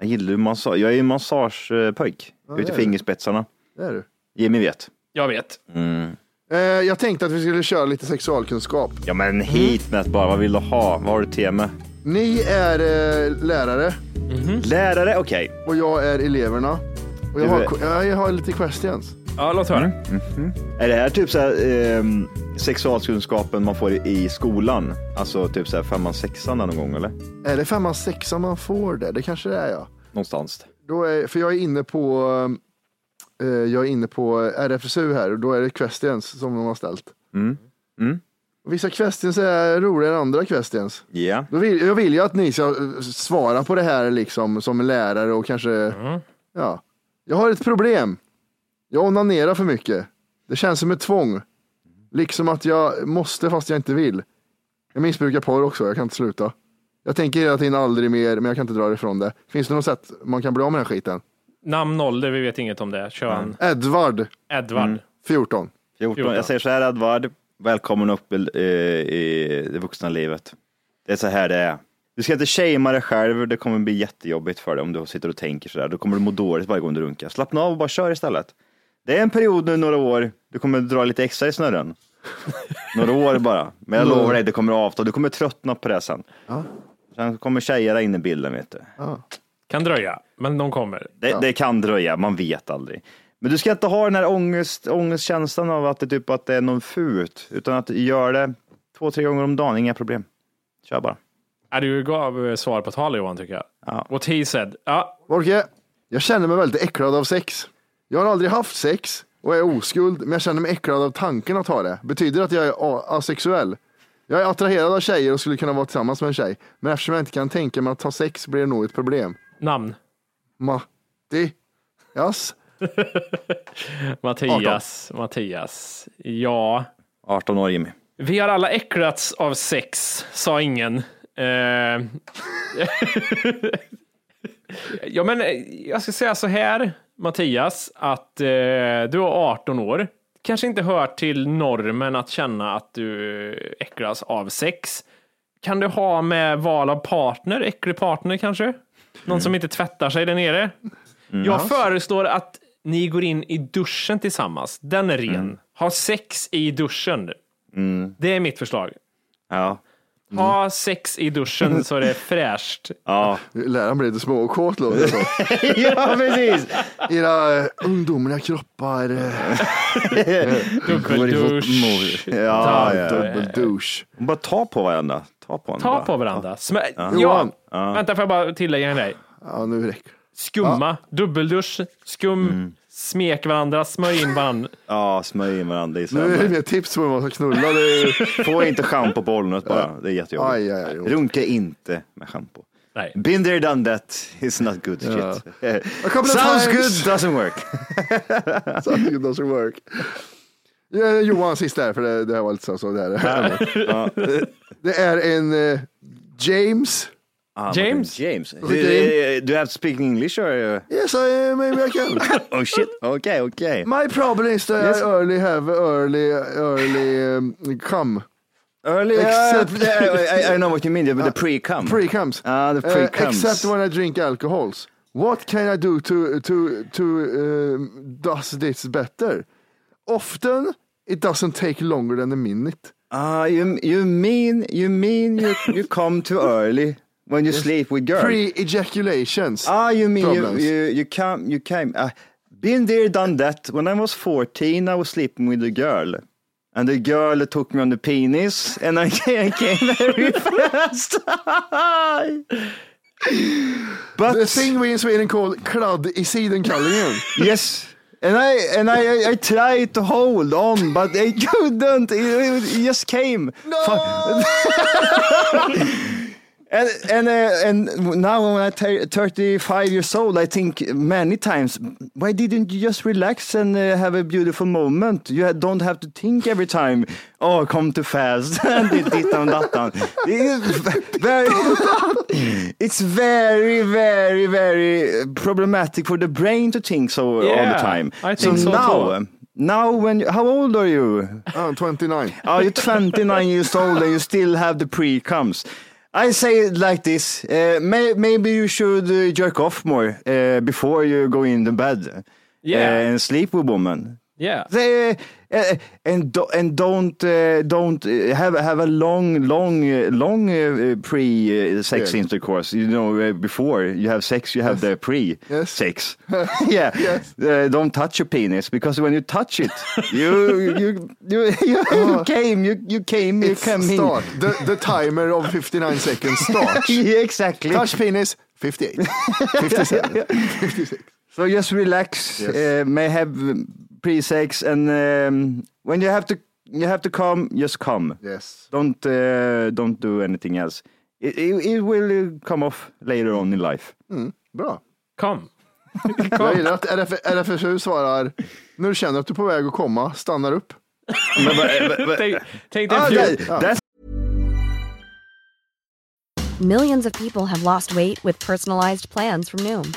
Jag gillar ju massage. Jag är ju massagepöjk. Ja, Ute det i är du. fingerspetsarna. Det är du. Jimmy vet. Jag vet. Mm. Eh, jag tänkte att vi skulle köra lite sexualkunskap. Ja men hit med bara. Vad vill du ha? Vad har du tema? Ni är eh, lärare Lärare? Okej. och jag är eleverna. Och jag, Du har, är- ja, jag har lite questions. Ja, låt höra. Är det här typ så här, ehm, sexualkunskapen man får i skolan? Alltså typ så här femman, sexan någon gång eller? Är det femman, sexan man får det? Det kanske det är ja. Någonstans. Då är, för jag är inne på eh, jag är inne på RFSU här och då är det questions som de har ställt. Mm. Mm. Och Vissa questions är roligare än andra questions. Ja. Då vill, jag vill ju att ni ska eh, svara på det här liksom som lärare och kanske, ja. Jag har ett problem. Jag onanerar för mycket. Det känns som ett tvång. Liksom att jag måste fast jag inte vill. Jag missbrukar porr också, jag kan inte sluta. Jag tänker hela tiden aldrig mer, men jag kan inte dra ifrån det. Finns det något sätt man kan bli av med den här skiten? Namn, ålder, vi vet inget om det. Kön. Edvard, Edvard. 14. 14. Jag säger så här Edvard, välkommen upp i, eh, i det vuxna livet. Det är så här det är. Du ska inte shamea dig själv, det kommer bli jättejobbigt för dig om du sitter och tänker så där. Då kommer du må dåligt varje gång du runkar. Slappna av och bara kör istället. Det är en period nu, några år, du kommer dra lite extra i snurren. några år bara. Men jag lovar dig, det kommer avta. Du kommer tröttna på det sen. Ja. Sen kommer tjejerna in i bilden, vet du. Kan dröja, men de kommer. Det, det kan dröja, man vet aldrig. Men du ska inte ha den här ångest, ångestkänslan av att det, typ, att det är någon fult, utan att du gör det Två, tre gånger om dagen, inga problem. Kör bara. Ja, du gav eh, svar på tal Johan tycker jag. What he said. Ja. Folke, jag känner mig väldigt äcklad av sex. Jag har aldrig haft sex och är oskuld, men jag känner mig äcklad av tanken att ha det. Betyder det att jag är a- asexuell? Jag är attraherad av tjejer och skulle kunna vara tillsammans med en tjej, men eftersom jag inte kan tänka mig att ha sex blir det nog ett problem. Namn? Matti. Yes. Mattias. Mattias. Ja. 18 år Jimmy. Vi har alla äcklats av sex, sa ingen. Eh. ja, men eh, jag ska säga så här, Mattias, att eh, du är 18 år. Kanske inte hör till normen att känna att du äcklas av sex. Kan du ha med val av partner, äcklig partner kanske? Någon som inte tvättar sig där nere? Jag föreslår att ni går in i duschen tillsammans. Den är ren. Ha sex i duschen. Mm. Det är mitt förslag. Ja. Ha sex i duschen så det är fräscht. Mm. Ja. Läraren blir lite småkåt låter det som. ja, precis. Era eh, ungdomliga kroppar. eh. Dubbeldusch. Ja, ja. Dubbeldusch. Bara ta på varandra. Ta på varandra. Ta på varandra. Smä- ja. Johan. Vänta, får jag bara tillägga en grej? Ja, nu räcker Skumma, dubbeldusch, skum, Mm. smek varandra, smörj in varandra. Ja, smörj in varandra i Nu är det sömnen. mer tips på hur man ska knulla. Det är... Få inte schampo på ollonet bara. Det är jättejobbigt. Aj, aj, aj, jo. Runka inte med schampo. Nej. Been there, done that. It's not good shit. couple of Sounds times. good, doesn't work. Something doesn't work. Ja, Johan, sist där, för det, det här var lite så. så det, här. det är en eh, James. Ah, James? James. Do, Skicka do you have to speak English or? Yes, I, eh, maybe I can. Oh shit, okej, okej. My problem is that Yes. I early have early, early um, come. Early, Except- uh, I, I know what you mean, the pre-cum. Ah, Pre-comes. Uh, Ah, the pre-comes. Eh, except when I drink alcohols. What can I do to, to, to um, does this better? Often it doesn't take longer than a minute. Ah, you, you mean, you mean you, you come too early when you sleep with girl. Pre-ejaculations. Ah, you mean you, Problems. you, you come, you came. Uh, been there, done that. When I was 14, I was sleeping with a girl. And the girl took me on the penis and I came, I came very fast. but The thing we in Sweden call kladd i sidenkallingen. yes. And I and I, I, I tried to hold on, but I couldn't. It, it just came. No. and and uh, and now when I'm thir- 35 years old, I think many times, why didn't you just relax and uh, have a beautiful moment? You ha- don't have to think every time. Oh, come too fast. and it- dittan och dattan. It is v- very, it's very, very, very problematic for the brain to think so all the Yeah, time. I think so now, um, too. now when you, how old are you? Ah, 29. Oh, you're 29 years old and you still have the pre-comes. I say it like this. Uh, may, maybe you should uh, jerk off more uh, before you go in the bed uh, Yeah. and sleep with woman. Yeah. They, uh, and do, and don't uh, don't uh, have have a long long uh, long uh, pre uh, sex Yeah. intercourse. You know uh, before you have sex, you have the pre sex. yeah, Yes. uh, don't touch your penis because when you touch it, you you you you, you came you you came you Oh. It's came in. start. The, the timer of 59 seconds starts. Yeah, exactly. Touch penis, 58. 57. So just relax. Uh, may have pre sex and um, when you have to you have to come, just come. Yes. Don't uh, don't do anything else. It, it, it will come off later on in life. Bra. Kom. Jag gillar att RF, RFSU svarar, när du känner att du är på väg att komma, stannar upp. Tänk, tänk dig Ah, en that, fjol. that's Millions of people have lost weight with personalized plans from Noom,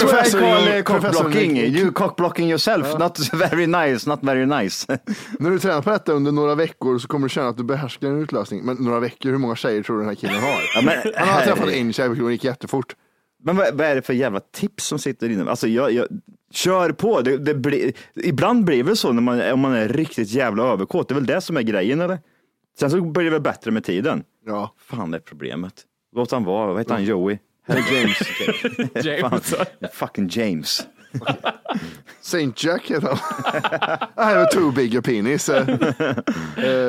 Professor, you, Professor cockblocking, Nick- you cockblocking yourself, Ja. not very nice, not very nice. När du tränar på detta under några veckor så kommer du känna att du behärskar en utlösning. Men några veckor, hur många tjejer tror du den här killen har? Ja, men- Han har träffat en tjej och hon gick jättefort. Men vad, vad är det för jävla tips som sitter inne? Alltså jag, jag kör på. Det, det blir, ibland blir det väl så när man, om man är riktigt jävla överkåt. Det är väl det som är grejen eller? Sen så blir det väl bättre med tiden. Ja. Fan det är problemet. Låt han vara. Vad heter han? Joey? Eller James. James. Fan, fucking James. Saint Jack heter han. I have a too big a penis.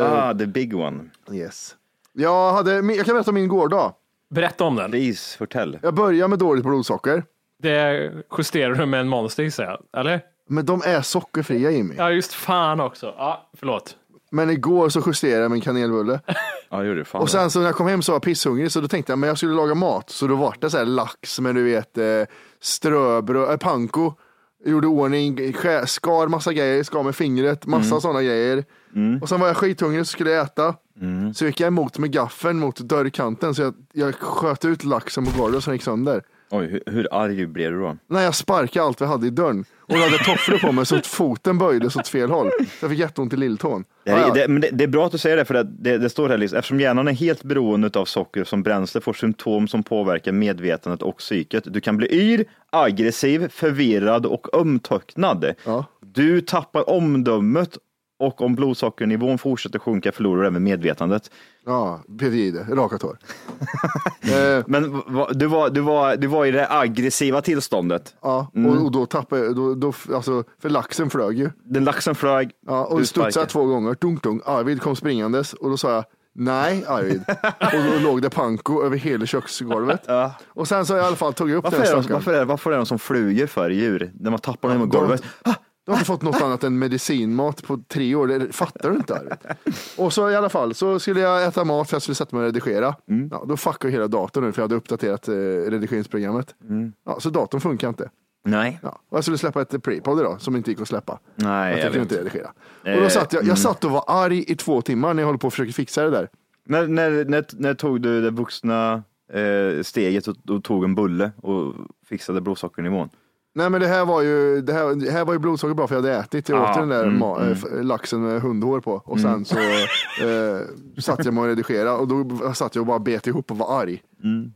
ah, the big one. Yes. Jag, hade, jag kan berätta om min gårdag. Berätta om den. Please, fortell. Jag börjar med dåligt blodsocker. Det justerar du med en monster gissar jag, eller? Men de är sockerfria Jimmy. Ja, just fan också. Ja, förlåt. Men igår så justerade jag min kanelbulle. Ja, gjorde fan och sen så när jag kom hem så var jag pisshungrig så då tänkte jag men jag skulle laga mat. Så då var det så här lax med du vet eh, ströbröd, äh, panko. Gjorde ordning, skär, skar massa grejer, skar med fingret, massa Mm. sådana grejer. Och sen var jag skithungrig så skulle jag äta. Mm. Så gick jag emot med gaffeln mot dörrkanten så jag, jag sköt ut laxen på golvet så den gick sönder. Oj, hur, hur arg blev du då? Nej, jag sparkade allt vi hade i dörren. Och jag hade tofflor på mig så att foten böjdes åt fel håll. Så jag fick jätteont i lilltån. Det, är- Ja, ja. det, men det, det är bra att du säger det, för det, det, det står här, liksom, eftersom hjärnan är helt beroende av socker som bränsle får symptom som påverkar medvetandet och psyket. Du kan bli yr, aggressiv, förvirrad och omtöcknad. Du tappar omdömet och om blodsockernivån fortsätter sjunka förlorar du även medvetandet. Ja, Pedride, raka tår. Eh, Men v- va- du var, du, var, du var i det aggressiva tillståndet. Ja, Mm. och, och då tappade jag, då, då, alltså, för laxen flög ju. Den laxen flög. Ja, och du du studsade sparkade. två gånger, dunk dunk. Arvid kom springandes och då sa jag nej Arvid. och då låg det panko över hela köksgolvet. Och sen så har jag i alla fall tagit upp Varför den är, de, stackaren. varför, är, varför är de som flugor för djur? När man tappar dem mot de- golvet. Du har inte fått något annat än medicinmat på tre år, det fattar du inte Arvid? Och så i alla fall, så skulle jag äta mat för jag skulle sätta mig och redigera. Mm. Ja, då fuckade jag hela datorn nu för jag hade uppdaterat eh, redigeringsprogrammet. Mm. Ja, så datorn funkar inte. Nej. Ja, och jag skulle släppa ett prepod idag som inte gick att släppa. Nej, jag jag tänker vet. inte redigera. Eh, Och då satt jag, mm. jag satt och var arg i två timmar när jag håller på och försöker fixa det där. När, när, när, när tog du det vuxna eh, steget och, och tog en bulle och fixade blodsockernivån? Nej men det här var ju, det här, det här var ju blodsocker bra för jag hade ätit. Jag Ja, åt den där mm, ma- mm. eh, f- laxen med hundhår på och Mm. sen så eh, satt jag mig och redigerade och då satt jag och bara bet ihop och var arg.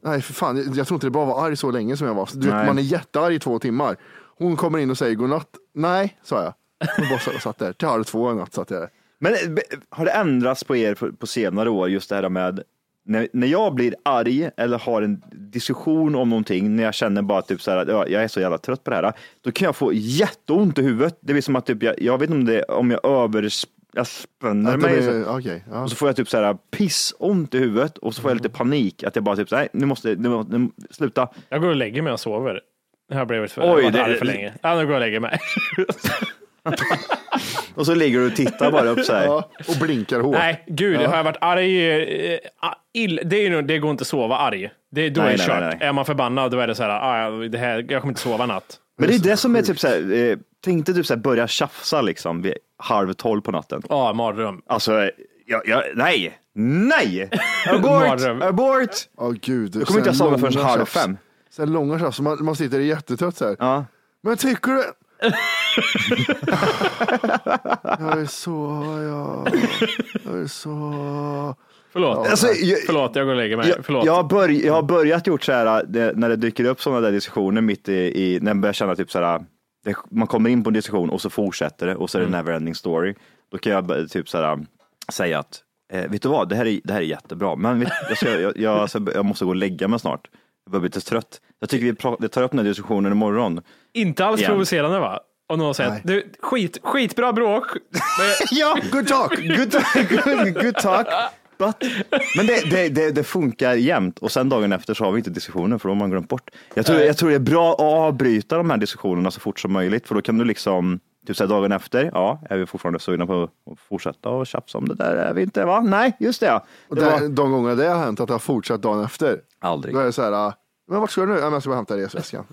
Nej för fan, jag, jag tror inte det är bra att vara arg så länge som jag var. Du vet, Mm. Nej. man är jättearg i två timmar. Hon kommer in och säger godnatt. Nej, sa jag. Och bara satt- satt där. Till halv två i natt satt jag där. Men eh, be- har det ändrats på er på, på senare år, just det här med när, när jag blir arg eller har en diskussion om någonting, när jag känner bara typ så här att ja, jag är så jävla trött på det här, då kan jag få jätteont i huvudet. Det blir som att typ, jag, jag vet inte om, det, om jag övers... Jag spänner Att det mig. blir- så- okej, ja. Och så får jag typ så här pissont i huvudet och så får jag lite panik att jag bara typ så här, nej, nu måste, nu, måste- nu, sluta. Jag går och lägger mig och sover. Jag har blivit för, Oj, jag har varit det- arg för länge. Ja, nu går jag och lägger mig. Och så ligger du och tittar bara upp så här. Ja, och blinkar hårt. Nej, gud, Ja. har jag varit arg? eh, ah, Ill, det, är ju, nog- det går inte att sova arg. Det, då Nej, är det nej, kört. nej, Är man förbannad, då är det så här, ah, ja, det här jag kommer inte sova natt. Men det är det som är typ så här, eh, tänkte typ så här börja tjafsa liksom vid halv tolv på natten. Ja, Ah, mardröm. Alltså, eh, jag, jag, nej, nej, abort, Mardröm. abort. Ja, gud. Jag kommer inte att Såna sova förrän långa halv tjafs. fem. Sen långa tjafs, man, man sitter jättetrött så här. Ja. Men tycker du... jag är så... Jag, jag är så... Förlåt. Ja, Alltså, nej. jag- Förlåt, jag går och lägger mig. Jag, Förlåt. jag, har börj, jag har börjat gjort så här, äh, det, när det dyker upp sådana där diskussioner mitt i, i när man börjar känna typ så här, det, man kommer in på en diskussion och så fortsätter det och så är det Mm. neverending story. Då kan jag bör- typ så här, säga att, eh, vet du vad, det här är, det här är jättebra, men vet, jag, ska, jag, jag, alltså, jag måste gå och lägga mig snart. Jag börjar bli lite trött. Jag tycker vi pra- vi tar upp den här diskussionen imorgon. Inte alls Igen. provocerande va? Om någon säger, att, du, skit, skitbra bråk. ja, good talk. Good, good, good talk. But, men det, det, det, det funkar jämt och sen dagen efter så har vi inte diskussionen för då har man glömt bort. Jag tror, jag tror det är bra att avbryta de här diskussionerna så fort som möjligt för då kan du liksom Typ så här dagen efter, ja, är vi fortfarande sugna på att fortsätta och tjafsa om det där? Är vi inte, va? Nej, just det. ja. Och det där, var... De gångerna det har hänt, att det har fortsatt dagen efter. Aldrig. Då är det så här, ah, men vart ska du nu? Ja, men jag ska bara hämta resväskan.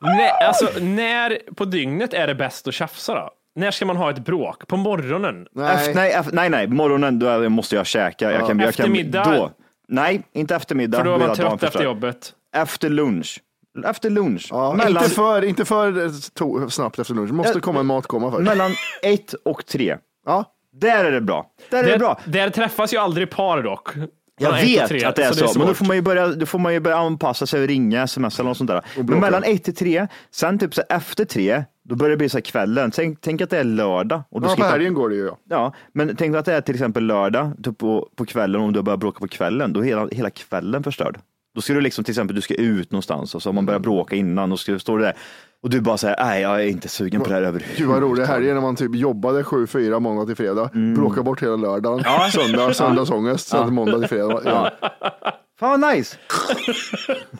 Nej, alltså, när på dygnet är det bäst att tjafsa då? När ska man ha ett bråk? På morgonen? Efter, nej, efter, nej, nej, morgonen då måste jag käka. Ja. Jag kan, jag kan, Eftermiddag? Då. Nej, inte eftermiddag. För då är Hela dagen man trött efter förstör. jobbet. Efter lunch. Efter lunch. Ja, Mellan- inte, för, inte för to- snabbt efter lunch, det måste komma en matkomma först. Mellan ett och tre. Ja. Där är det bra. Där är det bra. Där träffas ju aldrig par dock. Jag Mellan ett och vet tre, Alltså, att det är så, men då svårt. får, man ju börja, då får man ju börja anpassa sig och ringa, sms eller något sånt där. Men blocka. mellan 1 till 3, sen typ så här efter 3, då börjar det bli så här kvällen. Tänk, tänk att det är lördag. Och du Ja, ska på ta- helgen går det ju. Ja. Ja, men tänk att det är till exempel lördag typ på, på kvällen, om du börjar bråka på kvällen, då är hela, hela kvällen förstörd. Då ska du liksom till exempel, du ska ut någonstans och så har man Mm. börjat bråka innan och så står du där och du bara säger, nej jag är inte sugen på det här överhuvudtaget. Gud vad rolig helg när man typ jobbade 7-4 måndag till fredag, bråkade bort hela lördagen, söndag, söndagsångest, sen Mm. Ja. måndag till fredag. Ja. Fan vad nice!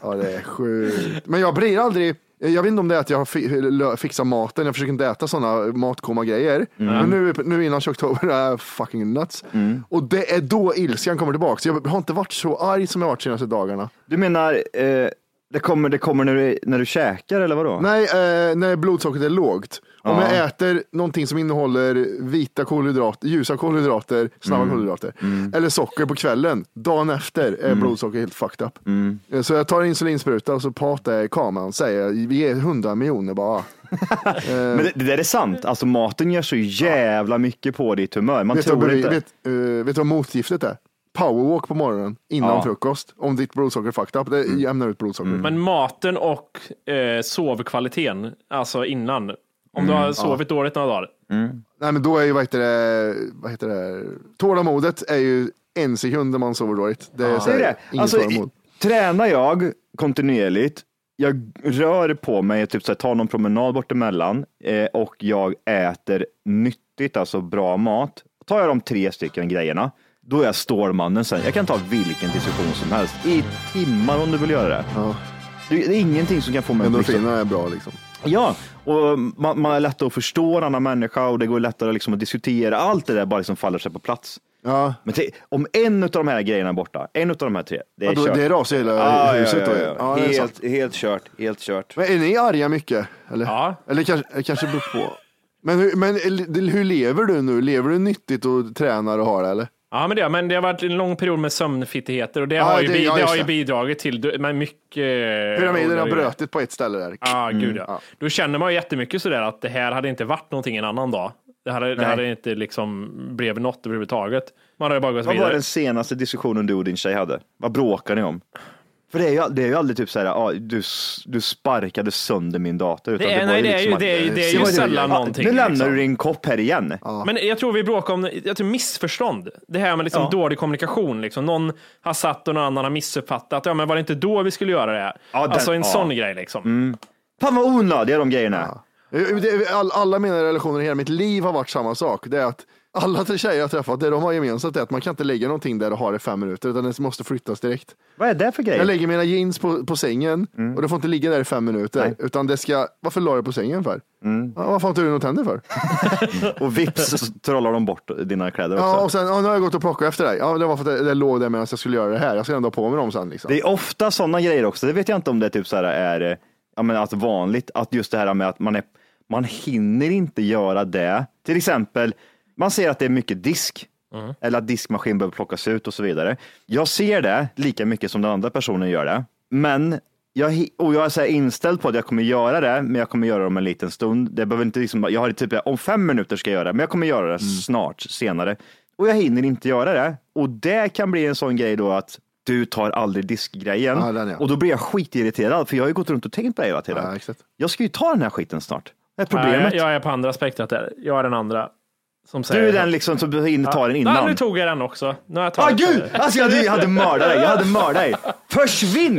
Ja, det är sjukt. Men jag blir aldrig, jag vet inte om det är att jag fi- lö- fixar maten, jag försöker inte äta sådana matkomma grejer. Mm. Men nu, nu innan tjocktober är jag fucking nuts. Och det är då ilskan kommer tillbaka. Så jag har inte varit så arg som jag har varit de senaste dagarna. Du menar, eh, det kommer, det kommer när, du, när du käkar eller vadå? Nej, eh, när blodsockret är lågt. Om Ja. jag äter någonting som innehåller vita kolhydrater, ljusa kolhydrater, snabba Mm. kolhydrater, eller socker på kvällen, dagen efter Mm. är blodsockret helt fucked up. Eh, Så jag tar insulinspruta och så pratar kameran säger vi ger 100 miljoner bara. Men det, det där är sant, alltså maten gör så jävla mycket på ditt humör. Man vet, du, tror vad- inte. vet, eh, vet du vad motgiftet är? Powerwalk på morgonen innan Ja. frukost. Om ditt blodsocker är fucked up, det Mm. jämnar ut blodsockret. Men maten och eh, sovkvaliteten, alltså innan. Om du har Mm, sovit dåligt några dagar. Nej men då är ju, vad heter det, vad heter det? tålamodet är ju en sekund när man sover dåligt. Det är, så här, Säg det. inget Alltså, tålamod. i- tränar jag kontinuerligt, jag rör på mig, typ så här, tar någon promenad bort emellan eh, och jag äter nyttigt, alltså bra mat. Tar jag de tre stycken grejerna, då är jag Stålmannen sen. Jag kan ta vilken diskussion som helst i timmar om du vill göra det. Det, det är ingenting som kan få mig att liksom- Endorfinerna är bra liksom. Ja, och man, man är lättare att förstå en annan människa och det går lättare liksom att diskutera. Allt det där bara liksom faller sig på plats. Ja. Men te- om en av de här grejerna är borta, en av de här tre, det är Ja, då- kört. det rasar hela ja, huset Ja, då. ja, ja. Ja, det är sant. helt, helt kört, helt kört. Men är ni arga mycket? Eller, ja. eller kanske, eh, kanske beror på. Men, hur, men eh, hur lever du nu? Lever du nyttigt och tränar och har det eller? Ja, men det, men det har varit en lång period med sömnfittigheter och det, Ja, har, ju, det- bi- ja, det just har ju det. bidragit till du- men mycket... eh, Pyramiden har och- brötit på ett ställe där. Ja, gud ja. Då känner man ju jättemycket sådär att det här hade inte varit någonting en annan dag. Det hade, det Nej. hade inte liksom blev något överhuvudtaget. Man hade bara gått Vad var vidare. den senaste diskussionen du och din tjej hade? Vad bråkar ni om? För det är ju, det är ju aldrig typ så här, ah, du, s- du sparkade sönder min dator. Det är- var nej, det är liksom ju- att- det är ju- det är ju var sällan "Ah, någonting, Nu lämnar liksom." du din kopp här igen. Men jag tror vi bråkar om jag tror missförstånd. Det här med liksom Ja. dålig kommunikation. Liksom. Någon har satt och någon annan har missuppfattat. Ja, men var det inte då vi skulle göra det? Här? den- alltså en ja. sån grej liksom. Mm. Fan vad onödiga de grejerna är. Eh, Det- All, alla mina relationer i hela mitt liv har varit samma sak. Det är att alla tre tjejer jag har träffat, det de har gemensamt är att man kan inte lägga någonting där och ha det i fem minuter, utan det måste flyttas direkt. Vad är det för grej? Jag lägger mina jeans på, på sängen och det får inte ligga där i fem minuter. Utan det ska, varför la jag på sängen för? Ja, varför har inte du något tänder för? Och vips så trollar de bort dina kläder också. Ja, och sen, ja, nu har jag gått och plockat efter dig. Ja, det var för att det, det låg där medan jag skulle göra det här. Jag ska ändå ha på mig dem sen. Liksom. Det är ofta sådana grejer också. Det vet jag inte om det typ så här är eh, ja, men att vanligt att just det här med att man, är, man hinner inte göra det. Till exempel, man ser att det är mycket disk eller att diskmaskin behöver plockas ut och så vidare. Jag ser det lika mycket som den andra personen gör det, men jag, hi- och jag är så här inställd på att jag kommer göra det, men jag kommer göra det om en liten stund. Det behöver inte liksom, jag har det typ, om fem minuter ska jag göra det, men jag kommer göra det Mm. snart, senare. Och jag hinner inte göra det. Och det kan bli en sån grej då att du tar aldrig diskgrejen. Ja, den, ja. Och då blir jag skitirriterad, för jag har ju gått runt och tänkt på det hela tiden. Ja, exakt. Jag ska ju ta den här skiten snart. Det är problemet. Nej, jag, jag är på andra spektrat där. Jag är den andra. Som säger du är den liksom som hinner ta den innan. Nej, nu tog jag den också. Nu har jag Ah, tagit gud! Alltså, jag, hade, jag hade mördat dig. Jag hade mördat dig. Försvinn!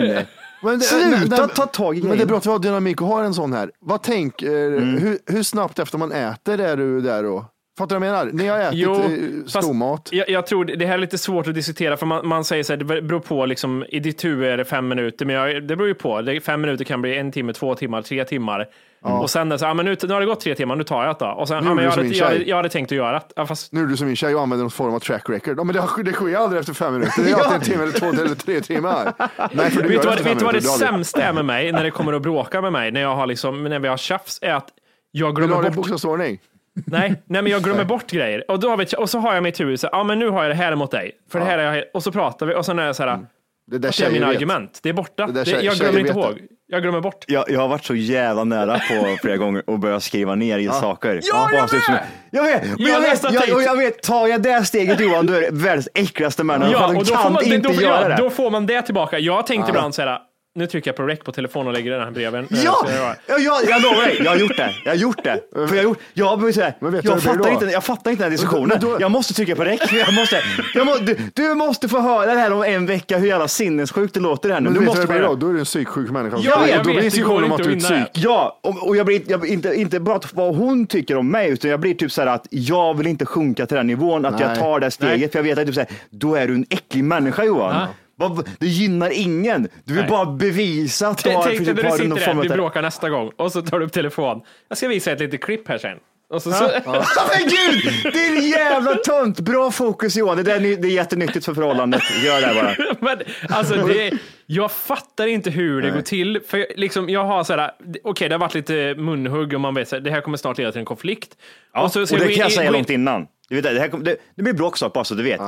Men det- Sluta nej, ta tag i Men det är grejen. Mm. bra att vi har eh, dynamik och har en sån här. Vad tänker, hur, hur snabbt efter man äter är du där då? Fattar du vad jag menar? Ni har ätit jo, fast stormat. Jag, jag tror det det här är lite svårt att diskutera för man, man säger så här, det beror på liksom, i ditt huvud är det fem minuter, men jag, det beror ju på. Det, fem minuter kan bli en timme, två timmar, tre timmar. Och sen är det så här, ah, men nu, nu har det gått tre timmar, nu tar jag det då. Och sen, Nu ah, gjorde men du jag, som hade, min jag, hade, tjej. jag hade tänkt att göra det. Ja, fast Nu är du som min tjej och använder någon form av track record. Ja, men det, det sker ju aldrig efter fem minuter. Det är alltid en timme eller två eller tre timmar. Nej, för du gör vet du vad, efter fem vet du vad det minuter, du har aldrig- sämsta är med mig när det kommer att bråka med mig, när, jag har liksom, när vi har tjafs, är att jag Vill du glömmer ha det i bort bokstavsordning? Nej, nej men jag glömmer bort grejer. Och, då vet jag, och så har jag mitt huvud, så här, ah, men nu har jag det här mot dig. För det här är jag, och så pratar vi och sen är jag så Mm. här, det där är tjejer mina vet. argument. Det är borta. Det Det där tjejer- jag glömmer tjejer inte vet ihåg. Jag glömmer bort. Jag, jag har varit så jävla nära på flera gånger och börjat skriva ner i Ja. saker. Ja, Bara jag så- med! Jag vet! Men jag, Jag vet nästan jag, tänkte- och jag vet, tar jag det steget Johan, du är du världens äckligaste människa. Ja, du och då kan får, man, det, inte då, får, göra ja, det. då får man det tillbaka. Jag tänkte Ja. ibland så här, nu trycker jag på rec på telefonen och lägger den här bredvid. eh, Ja! så jag bara- Ja, jag, jag lovar dig, jag har gjort det. Jag har gjort det. För jag, har gjort, jag, har blivit så här, vet du jag, vad det blir fattar då? inte, jag fattar inte den här diskussionen. Men då- jag måste trycka på räck. Jag måste, jag må, du, du måste få höra det här om en vecka, hur jävla sinnessjukt det låter här nu. Men du du vet måste vad det få blir höra då? Då är du en psyksjuk människa. Ja, Och jag då vet, blir det diskussionen om går att inte du att är vinna det. psyk. Ja, och, och jag blir jag, blir inte, inte bara att vad hon tycker om mig, utan jag blir typ så här att jag vill inte sjunka till den nivån, att jag Nej. tar det steget, Nej. för jag vet att typ så här, då är du en äcklig människa Johan. Ja. Vad- Det gynnar ingen. Du vill Nej. bara bevisa att du har Tänk dig när du har någon sitter form där, av- vi bråkar nästa gång och så tar du upp telefon. Jag ska visa ett litet klipp här sen. Och så, så, Ja. Men gud, det är en jävla tönt. Bra fokus Johan, det, där, är ny- det är jättenyttigt för förhållandet. Gör det här bara. Men, alltså, det, jag fattar inte hur det Nej. går till. För jag- liksom, jag har så här, okej, det har varit lite munhugg och man vet att det här kommer snart leda till en konflikt. Ja, och, så ska det gå kan jag in- säga gå in- långt innan. Du vet, det, här, kom- det, det blir bråk snart bara så du vet.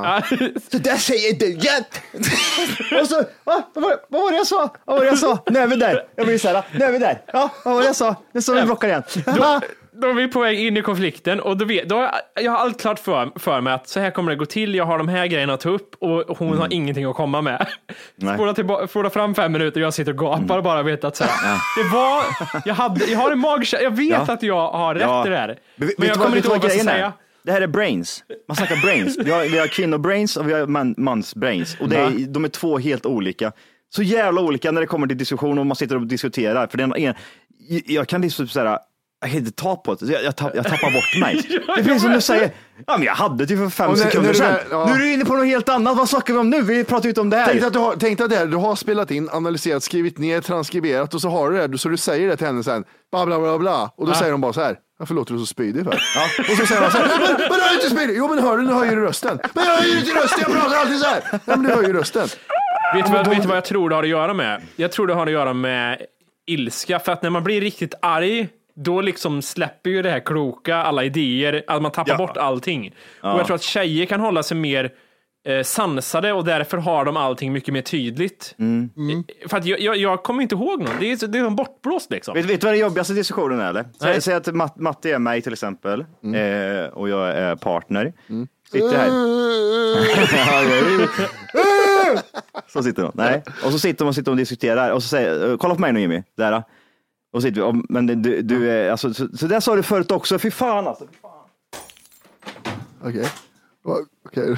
Så där säger du jämt! och så, va? Vad var, vad var det jag sa? Vad var det jag sa? Nu är vi där. Jag blir så här, nu är vi där. Ja, vad var det jag sa? Nu står vi och bråkar igen. Då, då är vi på väg in i konflikten och då, vet, då har jag, jag har allt klart för, för mig att så här kommer det gå till. Jag har de här grejerna att ta upp och hon har ingenting att komma med. Mm. Nej. Spola, tillba- spola fram fem minuter och jag sitter och gapar och bara vet att så här, det var, jag, hade, jag har en magkänsla, jag vet Ja. att jag har rätt i det här. Men, Men, vet jag du vad- kommer vet du inte vad ihåg vad jag ska grejen är? säga. Det här är brains. Man snackar brains. Vi har, vi har kvinnobrains och vi har man, mansbrains. Och det Ja. är, de är två helt olika. Så jävla olika när det kommer till diskussion och man sitter och diskuterar. För den ena, jag kan liksom såhär, jag kan inte ta på det. Så Jag, jag, tapp, jag tappar bort mig. Det finns som du säger, ja men jag hade det ju för fem Och när- sekunder när du sedan. väl- ja. Nu är du inne på något helt annat. Vad snackar vi om nu? Vi pratar ju inte om det här. Tänk dig att, du har, tänk dig att det här, du har spelat in, analyserat, skrivit ner, transkriberat och så har du det, så du säger det till henne sen, bla bla bla bla, och då säger hon bara så här, varför låter du så spydig för? Och så säger hon så här, men, men jag är inte spydig, jo men hör du, nu höjer du rösten, men jag höjer inte rösten, jag pratar alltid så här, nej men du höjer rösten. Vet du, men vad, de- vet du vad jag tror det har att göra med? Jag tror det har att göra med ilska, för att när man blir riktigt arg, då liksom släpper ju det här kloka, alla idéer, att man tappar Ja. bort allting. Ja. Och jag tror att tjejer kan hålla sig mer eh, sansade och därför har de allting mycket mer tydligt. Mm. Eh, För att jag, jag, jag kommer inte ihåg något, det är, så- det är som bortblåst liksom. Vet, vet du vad den jobbigaste diskussionen är? Eller? Säg, Nej. Mm. säg att Matt, Matti är mig till exempel eh, och jag är partner. Sitter Ah. här. Eh, så sitter de. Nej. Och så sitter de och, sitter de och diskuterar och så säger eh, kolla på mig nu Jimmy. Där. då. Och så sitter vi, "Ja, men du, du är, alltså, så, så där sa du förut också, fy fan alltså. Fy fan. Okej. Och- Okej.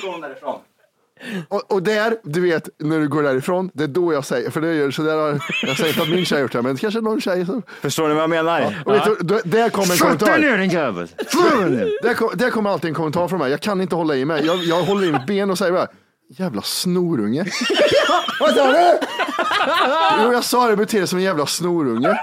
Från därifrån. Och, och där, du vet, när du går därifrån, det är då jag säger, för det gör sådär, har- jag säger inte att min tjej har gjort det, men kanske någon tjej som... Förstår ni vad jag menar? Och vet du, då- där kommer en kommentar. Fötter nu din jävel! Där, kom, där kommer alltid en kommentar från mig. Jag kan inte hålla i mig. Jag, jag håller i mitt ben och säger bara, jävla snorunge. Vad sa du? Jo, jag sa det, beter dig som en jävla snorunge.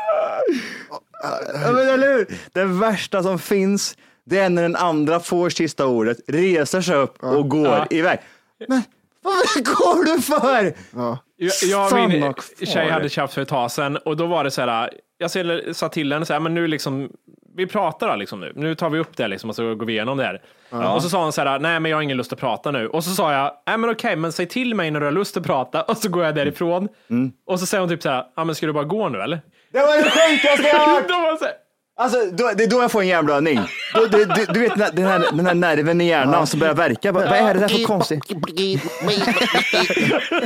Ja, men eller hur? Det värsta som finns, det är när den andra får sista ordet, reser sig upp och går Ja. iväg. Men vad går du för? Jag, jag och Stanna min kvar. tjej hade tjafs för ett tag sedan och då var det så här, jag sa- sa till henne så här, men nu liksom, vi pratar då liksom nu, nu tar vi upp det liksom och så går vi igenom det här. Ja. Och så sa hon så här, nej men jag har ingen lust att prata nu. Och så sa jag, nej men okej, men säg till mig när du har lust att prata och så går jag därifrån. Mm. Och så säger hon typ så här, ja men ska du bara gå nu eller? Det var det sjukaste jag har hört! Då var det så här, Alltså, då, det är då jag får en hjärnblödning. Då- Du, du, du vet när- den här, den här nerven i hjärnan som börjar verka. Vad, vad är det där för konstigt?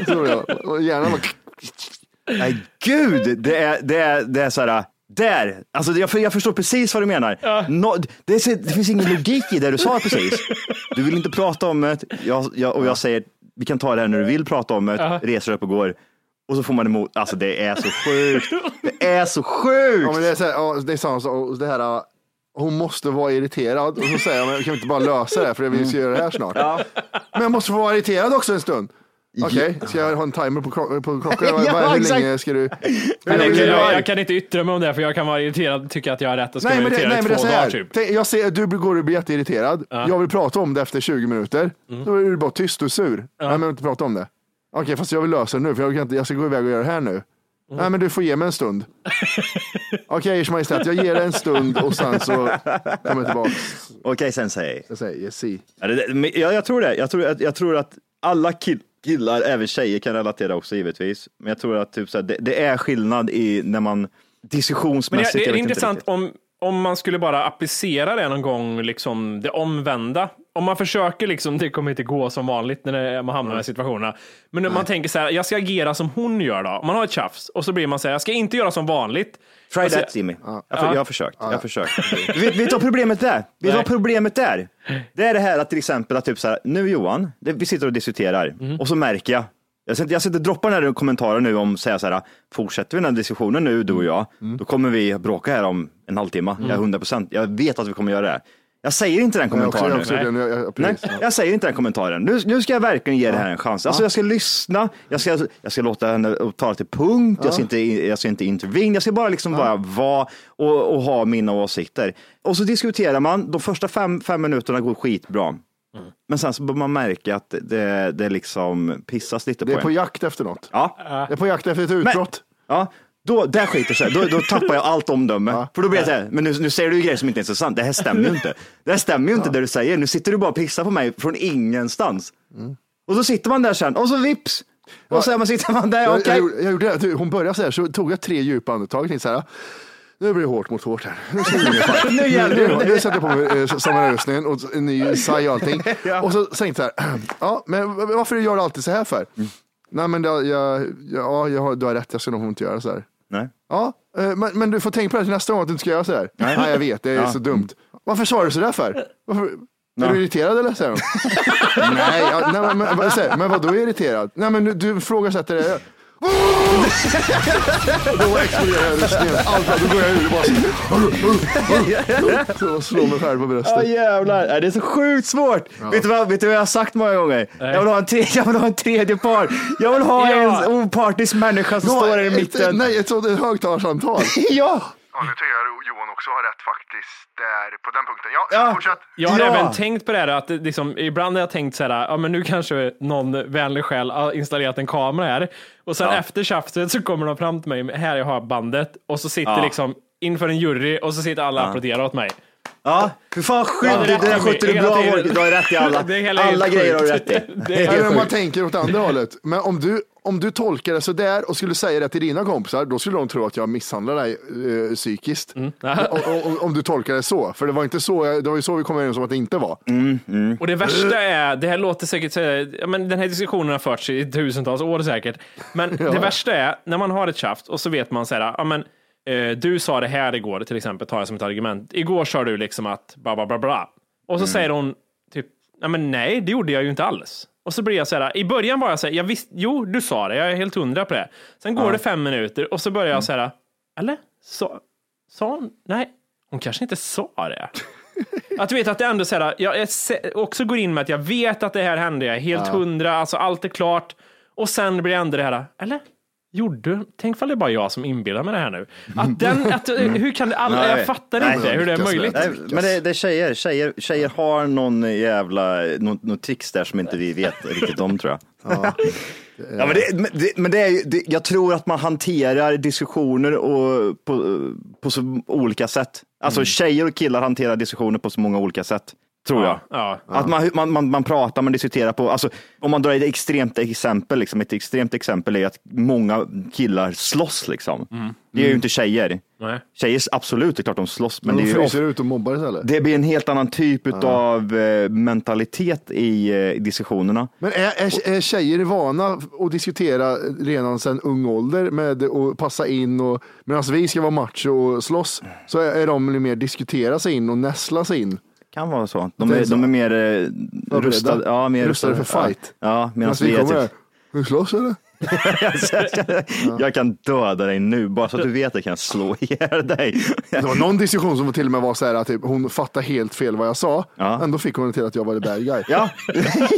Så jag. Och Hjärnan bara, Nej, gud, det är, det är, det är så här. Där! Alltså jag, för- jag förstår precis vad du menar. Nå- det, är, så- det finns ingen logik i det du sa precis. Du vill inte prata om det jag, jag, och jag säger vi kan ta det här när du vill prata om det, Ja. reser upp och går. Och så får man emot, alltså det är så sjukt. Det är så sjukt! ja, men det är, så här, ja, det är samma sak. Och det här, hon måste vara irriterad. Och så säger jag, men kan vi inte bara lösa det här för vi ska göra det här snart. Men jag måste få vara irriterad också en stund. Okej, ska jag ha en timer på, klo- på klockan? Vad- Ja, vad- Hur exakt. länge ska du? Men jag, kan, Ja, jag, jag kan inte yttra mig om det, för jag kan vara irriterad och tycka att jag har rätt och ska Nej vara men, det, irriterad nej, i men det är två så dagar här. typ. Tänk, jag ser, du går och blir jätteirriterad. Jag vill prata om det efter 20 minuter. Mm. Då är du bara tyst och sur. Nej, men jag vill inte prata om det. Okej, fast jag vill lösa det nu, för jag, kan inte, jag ska gå iväg och göra det här nu. Mm. Nej, men du får ge mig en stund. Okej, Ers Majestät, jag ger dig en stund och sen så kommer jag tillbaka. Okej, sensei. Sensei, yes, see. Ja, det- det- men jag, jag tror det. Jag tror, att- jag tror att alla kill, killar, även tjejer, kan relatera också givetvis. Men jag tror att typ, så här, det, det är skillnad i när man Men det, diskussionsmässigt. det jag är vet intressant inte om, om man skulle bara applicera det någon gång, liksom det omvända. Om man försöker, liksom, det kommer inte gå som vanligt när det, man hamnar i de här situationerna. Men om man tänker så här, jag ska agera som hon gör då. Om man har ett tjafs och så blir man så här, jag ska inte göra som vanligt. Try Alltså- that, Jimmy. Jag, för, Ja. jag har försökt. Jag har försökt. vet, vet du vad problemet är? Vet du vad problemet är? Det är det här att till exempel att typ så här, nu Johan, det, vi sitter och diskuterar Mm. och så märker jag, jag ska, inte- jag ska inte droppa den här kommentaren nu om säga så här, fortsätter vi den här diskussionen nu du och jag, Mm. då kommer vi bråka här om en halvtimme. Jag är 100 procent, jag vet att vi kommer göra det. Jag säger inte den Nej, Mm. jag kommentaren också- jag också- nu. jag- jag- Nej, precis, ja. jag säger inte den kommentaren. Nu, nu ska jag verkligen ge det här en chans. Alltså, jag ska lyssna, jag ska, jag ska låta henne ta till punkt, jag, ska inte, jag ska inte intervene, jag ska bara liksom bara vara och, och ha mina åsikter. Och så diskuterar man, de första fem, fem minuterna går skitbra. Mm. Men sen så börjar man märka att det, det liksom pissas lite Det är på på en. jakt efter något. Ja. Det är på jakt efter ett utbrott. Ja, då, där skiter sig. Då, då tappar jag allt omdöme. För då blir jag så här, men nu, nu säger du ju grejer som inte är så sant. Det här stämmer ju inte. Det här stämmer ju inte det du säger. Nu sitter du bara och pissar på mig från ingenstans. Och så sitter man där sen och så vips. Och så är man, sitter man där, Jag, okej. jag, gjorde- jag gjorde det. Du, Hon började så här, så tog jag tre djupa andetag. Tänkte så här, nu blir det hårt mot hårt här. Nu, ska vi in i fight. Nu jävlar. nu, nu sätter jag på mig eh, samlarrustningen och en ny saj och allting. Och så tänkte jag så här, ja, men varför gör du alltid så här för? Mm. Nej, men jag, jag, ja, jag, har- du har rätt, jag ska nog inte göra så här. Nej. Ja, eh, men, men du får tänka på det till nästa gång att du inte ska göra så här. Nej, Nej. jag vet, det är Ja. så dumt. Varför svarar du så där för? Varför? Är du irriterad eller? säger hon. nej, ja, nej, men, men, vad säger- men vadå irriterad? Nej, men du, du ifrågasätter det. Då exploderar jag rustningen. Allt, bra, då går jag ur och bara så- så. jag slår mig själv på bröstet. Ja jävlar, Nej, det är så sjukt svårt. Vet, du vad, vet du vad jag har sagt många gånger? Jag vill, ha en tre, jag vill ha en tredje part. Jag vill ha Ja. en opartisk människa som står där i Ett, mitten. nej, ett sånt högtalarsamtal. ja. Ja, nu tycker jag Johan också har rätt faktiskt. Där, på den punkten. Ja, fortsätt. Jag har även tänkt på det här att det liksom, ibland har jag tänkt så här, ja men nu kanske någon vänlig själ har installerat en kamera här och sen efter tjafset så kommer de fram till mig, här jag har bandet och så sitter Ja. liksom inför en jury och så sitter alla och Ja. applåderar åt mig. Ja, hur fan Ja, skydd, det är det där rätt, skötte du hela bra tiden. Wolke, du har rätt i alla. Det är hela Alla helt grejer har du sjukt. rätt i. Det är Eller om man sjukt. tänker åt andra hållet. Men om du, om du tolkar det sådär och skulle säga det till dina kompisar, då skulle de tro att jag misshandlar dig eh, psykiskt. Om, om, om du tolkar det så. För det var inte så, jag- det var ju så vi kom överens om att det inte var. Mm. Och det värsta är, det här låter säkert, så här- ja, men den här diskussionen har förts i tusentals år säkert, men Ja. det värsta är när man har ett tjafs och så vet man så här, ja men eh, du sa det här igår till exempel, tar jag som ett argument. Igår sa du liksom att bla bla bla bla. Och så säger hon typ, ja men nej, det gjorde jag ju inte alls. Och så blir jag så här, i början var jag så här, jag visst, jo du sa det, jag är helt hundra på det. Sen går Ja. det fem minuter och så börjar jag så här, eller? Sa, sa hon? Nej, hon kanske inte sa det. Att du vet att det ändå så här, jag är se- också går in med att jag vet att det här hände, jag är helt Ja. hundra, alltså allt är klart. Och sen blir det ändå det här, eller? Gjorde, tänk ifall det är bara jag som inbillar mig det här nu. Att den, att, eh, hur kan det, alla, jag fattar inte hur det är möjligt. Nej, men det, det är tjejer. tjejer. Tjejer har någon jävla, någon, någon tricks där som inte vi vet riktigt om tror jag. Ja. Ja, men det, men det, men det är, ju- det, jag tror att man hanterar diskussioner och på, på så olika sätt. Alltså tjejer och killar hanterar diskussioner på så många olika sätt. Tror Ja, jag. ja. Att man, man, man, man pratar, man diskuterar på, alltså, om man drar ett extremt exempel, liksom, ett extremt exempel är att många killar slåss liksom. Det är ju inte tjejer. Nej. Tjejer, absolut, det är klart de slåss, men, Men, det är de ju fryser ofta ut och mobbar istället. det blir en helt annan typ av mentalitet i eh, diskussionerna. Men är, är, är tjejer vana att diskutera redan sedan ung ålder med att passa in och medan vi ska vara macho och slåss så är, är de mer diskutera sig in och näsla sig in. kan vara så. De Det är är, så. de är mer eh, Förberedda. rustade, ja, mer Rustade för fight. Ja, ja, medan Medan vi är typ, kommer här, ska vi slåss eller? jag kan döda dig nu, bara så att du vet jag kan slå ihjäl dig. Det var någon diskussion som till och med var så här att typ, hon fattade helt fel vad jag sa. Ändå fick hon det till att jag var the bad guy. Ja,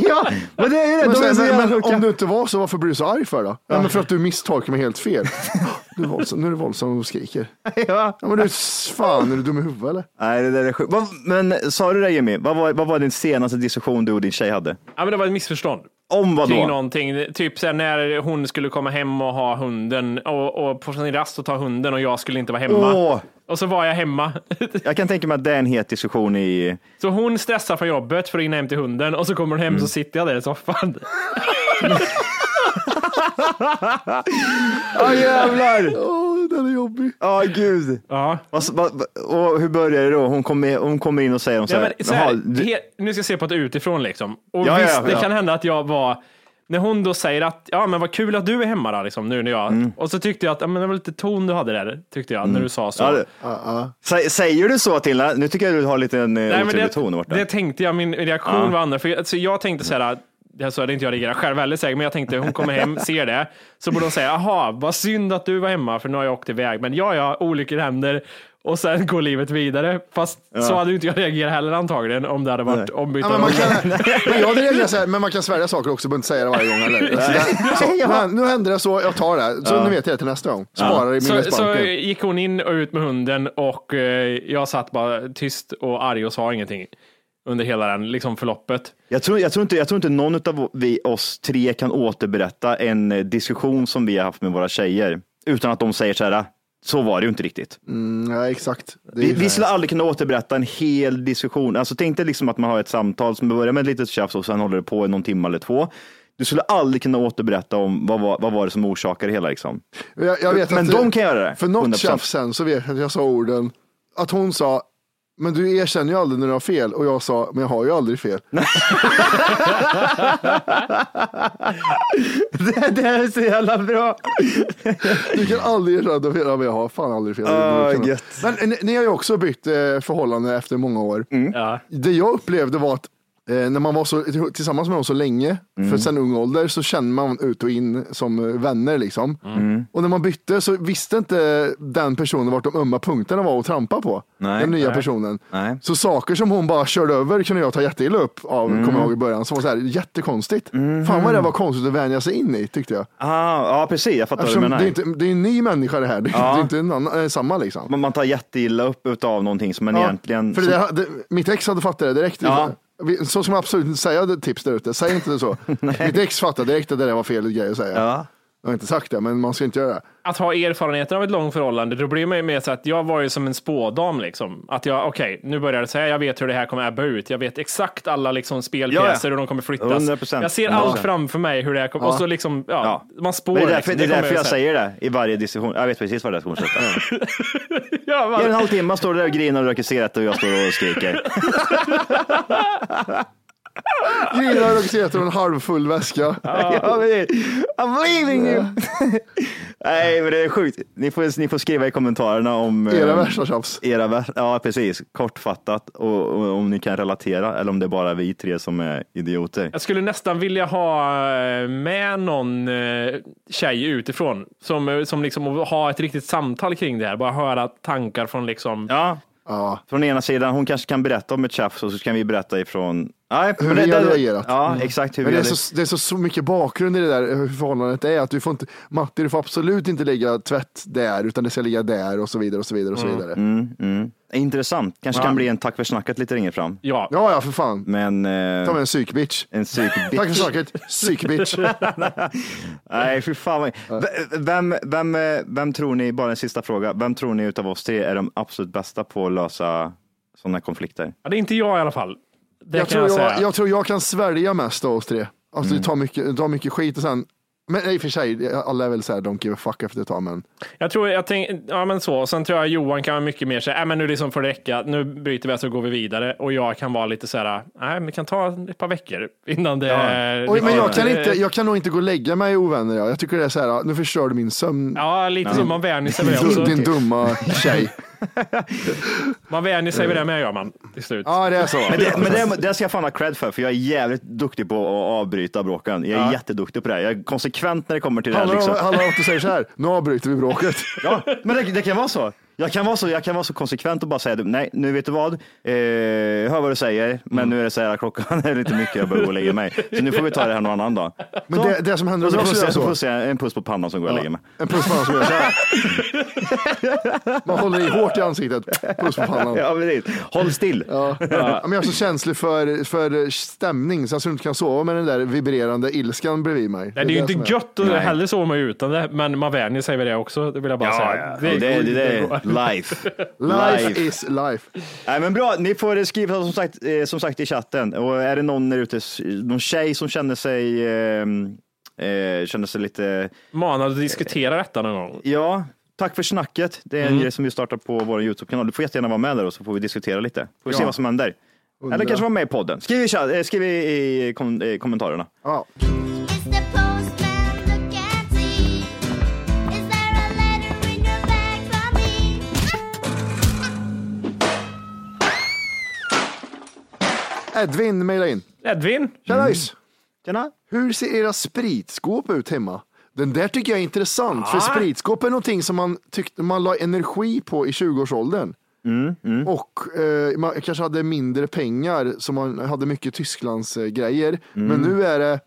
ja men det är ju det. Men, De är sen, så men, jävla men sjuka. om du inte var så, varför blir du så arg för då? Ja. men för att du misstolkar mig helt fel. Du är våldsam, nu är du våldsam och skriker. Ja. men du är s- fan, är du dum i huvudet eller? Nej, det där är sjukt. Vad- Men sa du det Jimmy? Vad var, vad var din senaste diskussion du och din tjej hade? Ja, men det var ett missförstånd. Om vad Kring då? någonting, typ så här, när hon skulle komma hem och ha hunden och, och på sin rast och ta hunden och jag skulle inte vara hemma. Åh. Och så var jag hemma. Jag kan tänka mig att det är en het diskussion i... Så hon stressar från jobbet för att hinna hem till hunden och så kommer hon hem så sitter jag där i soffan. Ja jävlar! Åh, den är jobbig. Ja gud. Ja. och hur börjar det då? Hon kommer, hon kommer in och säger om så Ja, här. men, så här, "Jaha, du- he, nu ska jag se på det utifrån liksom. Och Ja, ja, visst, ja. det kan hända att jag var, när hon då säger att, ja men vad kul att du är hemma då, liksom, nu när jag, Mm. och så tyckte jag att, ja, men det var lite ton du hade där, tyckte jag, när du sa så. Ja, det- Sä- Säger du så till henne? Nu tycker jag du har lite en Nej, Nej, men otrevlig det, ton. Martin. det tänkte jag, min reaktion Ja. var annorlunda. För jag, så jag tänkte så här, det här så hade inte jag reagerat själv heller säkert, men jag tänkte hon kommer hem, ser det, så borde hon säga, aha, vad synd att du var hemma för nu har jag åkt iväg, men ja, ja, olyckor händer och sen går livet vidare. Fast Ja. så hade ju inte jag reagerat heller antagligen om det hade varit ombytta Ja, men, man roller. kan, men jag hade reagerat så här, men man kan svälja saker också, behöver inte säga det varje gång heller. Så där- Så, men, nu hände det så, jag tar det. här. Så Ja. nu vet jag det till nästa gång. Sparar i så, så minnesbanken. gick hon in och ut med hunden och eh, jag satt bara tyst och arg och sa ingenting under hela den liksom förloppet. Jag tror, jag, tror inte, jag tror inte någon av vi, oss tre kan återberätta en eh, diskussion som vi har haft med våra tjejer utan att de säger så här, "Ah, så var det ju inte riktigt. Mm, ja, exakt. Det är Vi, ju vi så skulle här. aldrig kunna återberätta en hel diskussion. Alltså, tänk dig liksom att man har ett samtal som börjar med ett litet tjafs och sen håller det på i någon timme eller två. Du skulle aldrig kunna återberätta om vad, var- vad var det som orsakade det hela. Liksom. Jag, jag vet Men att de kan göra det. För något 100%. tjafs sen så vet jag att jag sa orden, att hon sa, men du erkänner ju aldrig när du har fel. Och jag sa, men jag har ju aldrig fel. det, det här är så jävla bra. du kan aldrig erkänna att du har fel. Ja, men jag har fan aldrig fel. Ah, Det borde gött. kunna- men ni, ni har ju också bytt eh, förhållande efter många år. Mm. Ja. Det jag upplevde var att eh, när man var så, tillsammans med någon så länge, Mm. för sen ung ålder, så kände man ut och in som eh, vänner. liksom. Mm. Och när man bytte så visste inte den personen vart de ömma punkterna var att trampa på. Nej, den nya nej. personen. Nej. Så saker som hon bara körde över kunde jag ta jätteilla upp av, Mm. kommer jag ihåg i början, som var så här, jättekonstigt. Fan vad det var konstigt att vänja sig in i tyckte jag. Ah, ja, precis. Jag fattar vad du Eftersom det, menar. är inte, det är en ny människa det här, det är, Ja. det är inte en annan, eh, samma liksom. Man, man tar jätteilla upp av någonting som man Ja, egentligen... För det som- där, det, mitt ex hade fattat det direkt. Ja. Vi- Så ska man absolut inte säga det, tips där ute, säg inte det så. mitt ex fattade direkt att det där var fel grej att säga. Jag har inte sagt det, men man ska inte göra det. att ha erfarenheten av ett långt förhållande, då blir man ju mer så att jag var ju som en spådam liksom. Att jag, okej, nu börjar det så här, jag vet hur det här kommer ebba ut. Jag vet exakt alla liksom spelpjäser Ja, ja. och hur de kommer flyttas. 100%. Jag ser 100%. allt framför mig hur det här kommer, Ja. och så liksom, ja, man spår. Men det är därför, liksom. det är kommer därför jag så här. säger det i varje diskussion. Jag vet precis var det här kommer sluta. Ja, I man, en halvtimme man står där och grinar och röker cigaretter och jag står och skriker. Grinar och sitter en halvfull väska. Ja, men- I'm leaving you! Nej, men det är sjukt. Ni får, ni får skriva i kommentarerna om eh, Era värsta tjafs. Era vär, ja, precis. Kortfattat och, och om ni kan relatera eller om det är bara vi tre som är idioter. jag skulle nästan vilja ha eh, med någon eh, tjej utifrån som, eh, som liksom och ha ett riktigt samtal kring det här. Bara höra tankar från liksom. Ja. Ja. Från ena sidan, hon kanske kan berätta om ett tjafs och så kan vi berätta ifrån... Nej, Hur men vi det- hade det- reagerat. Mm. Ja, exakt. Hur Men vi det, är hade- så, det är så, så mycket bakgrund i det där hur förhållandet är. Att du får inte, Matti, du får absolut inte lägga tvätt där, utan det ska ligga där och så vidare. och så vidare och så vidare. Mm, mm. Intressant. Kanske Ja. kan bli en tack för snacket lite längre fram. Ja. Ja, ja, för fan. Men... Eh, Ta med en psykbitch. en psykbitch. Tack för snacket, psykbitch. Nej, fy fan. vad- V- Vem, vem, eh, vem tror ni, bara en sista fråga, vem tror ni utav oss tre är de absolut bästa på att lösa sådana konflikter? Ja, det är inte jag i alla fall. Det jag, kan tror jag, säga. jag, jag tror jag kan svälja mest av oss tre. Alltså det tar mycket, tar mycket skit och sen, men i och för sig, alla är väl såhär, don't give a fuck efter ett tag. Men Jag tror, jag tänk, ja men så, sen tror jag Johan kan vara mycket mer så här, "Äh, men nu liksom får det räcka, nu bryter vi alltså och går vi vidare. Och jag kan vara lite så här, nej men det kan ta ett par veckor innan det är... Oj, men jag kan, det- inte, jag kan nog inte gå och lägga mig i ovänner. Jag. jag tycker det är så här, nu förstör du min sömn. Ja, lite så, man vänjer sig vid det Din, också. din dumma tjej. Man vänjer sig vid det med gör man till slut. Ja, det är så. Men, det, men det, det ska jag fan ha cred för, för jag är jävligt duktig på att avbryta bråkan. Jag är Ja. jätteduktig på det. här. Jag är konsekvent när det kommer till det här. Handlar om, Liksom. handlar om att du säger så här, nu avbryter vi bråket. Ja, men det, det kan vara så. Jag kan vara så. Jag kan vara så konsekvent och bara säga, nej, nu vet du vad, eh, jag hör vad du säger, men nu är det så här, klockan är lite mycket, jag behöver gå och lägga mig. Så nu får vi ta det här någon annan dag. Men Så. det, det som händer Och om så jag puss, skulle göra puss, så, puss, en puss på pannan som går och lägger mig. en puss på honom som gör så här. Man håller i hårt i ansiktet, puss på pannan. Ja, precis. Håll still. Ja. Ja, men jag är så känslig för, för stämning så jag inte kan sova med den där vibrerande ilskan bredvid mig. Nej, det är ju som inte gött och Nej. hellre sover man ju utan det, men man vänjer sig vid det också. Det vill jag bara säga. life. Life is life. Nej, men bra, ni får skriva som sagt, eh, som sagt i chatten. Och är det någon där ute, s- någon tjej som känner sig, eh, eh, känner sig lite... Manad att diskutera detta någon gång. Ja, tack för snacket. Det Mm. är en grej som vi startar på vår Youtube-kanal. Du får jättegärna vara med där och så får vi diskutera lite. Får vi se Ja. vad som händer. Undrar. Eller kanske vara med i podden. Skriv i, chatt- eh, skriv i, i kom, eh, kommentarerna. Ja. Edvin mejla in. Edvin. Tjena ys. Tjena. Hur ser era spritskåp ut hemma? Den där tycker jag är intressant, för Ah. spritskåp är någonting som man tyckte man la energi på i 20-årsåldern. Mm, Och eh, man kanske hade mindre pengar, så man hade mycket Tysklands eh, grejer. Men nu är det,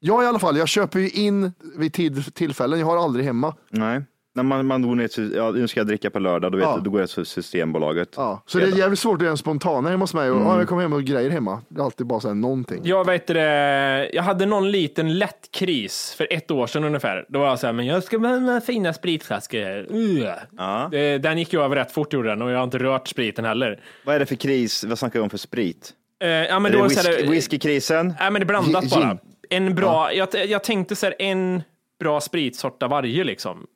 jag i alla fall, jag köper ju in vid tid, tillfällen, jag har aldrig hemma. Nej. När man, man går ner till, ja, nu ska jag dricka på lördag, då, vet Ja. du, då går jag till Systembolaget. Ja, Så det är jävligt svårt att göra en spontan hemma hos mig. Mm. Och, ja, jag kommer hem och grejer hemma. Det är alltid bara så här någonting. Jag vet det, jag hade någon liten lätt kris för ett år sedan ungefär. Då var jag så här, men jag ska med mina fina spritflaskor. här. Uh. Det, den gick ju över rätt fort gjorde den och jag har inte rört spriten heller. Vad är det för kris? Vad snackar vi om för sprit? Eh, ja, Men men är det då var det så här, whisky, whiskykrisen? Nej, men det är blandat Gin. bara. En bra, jag, jag tänkte så här, en bra spritsort av varje liksom.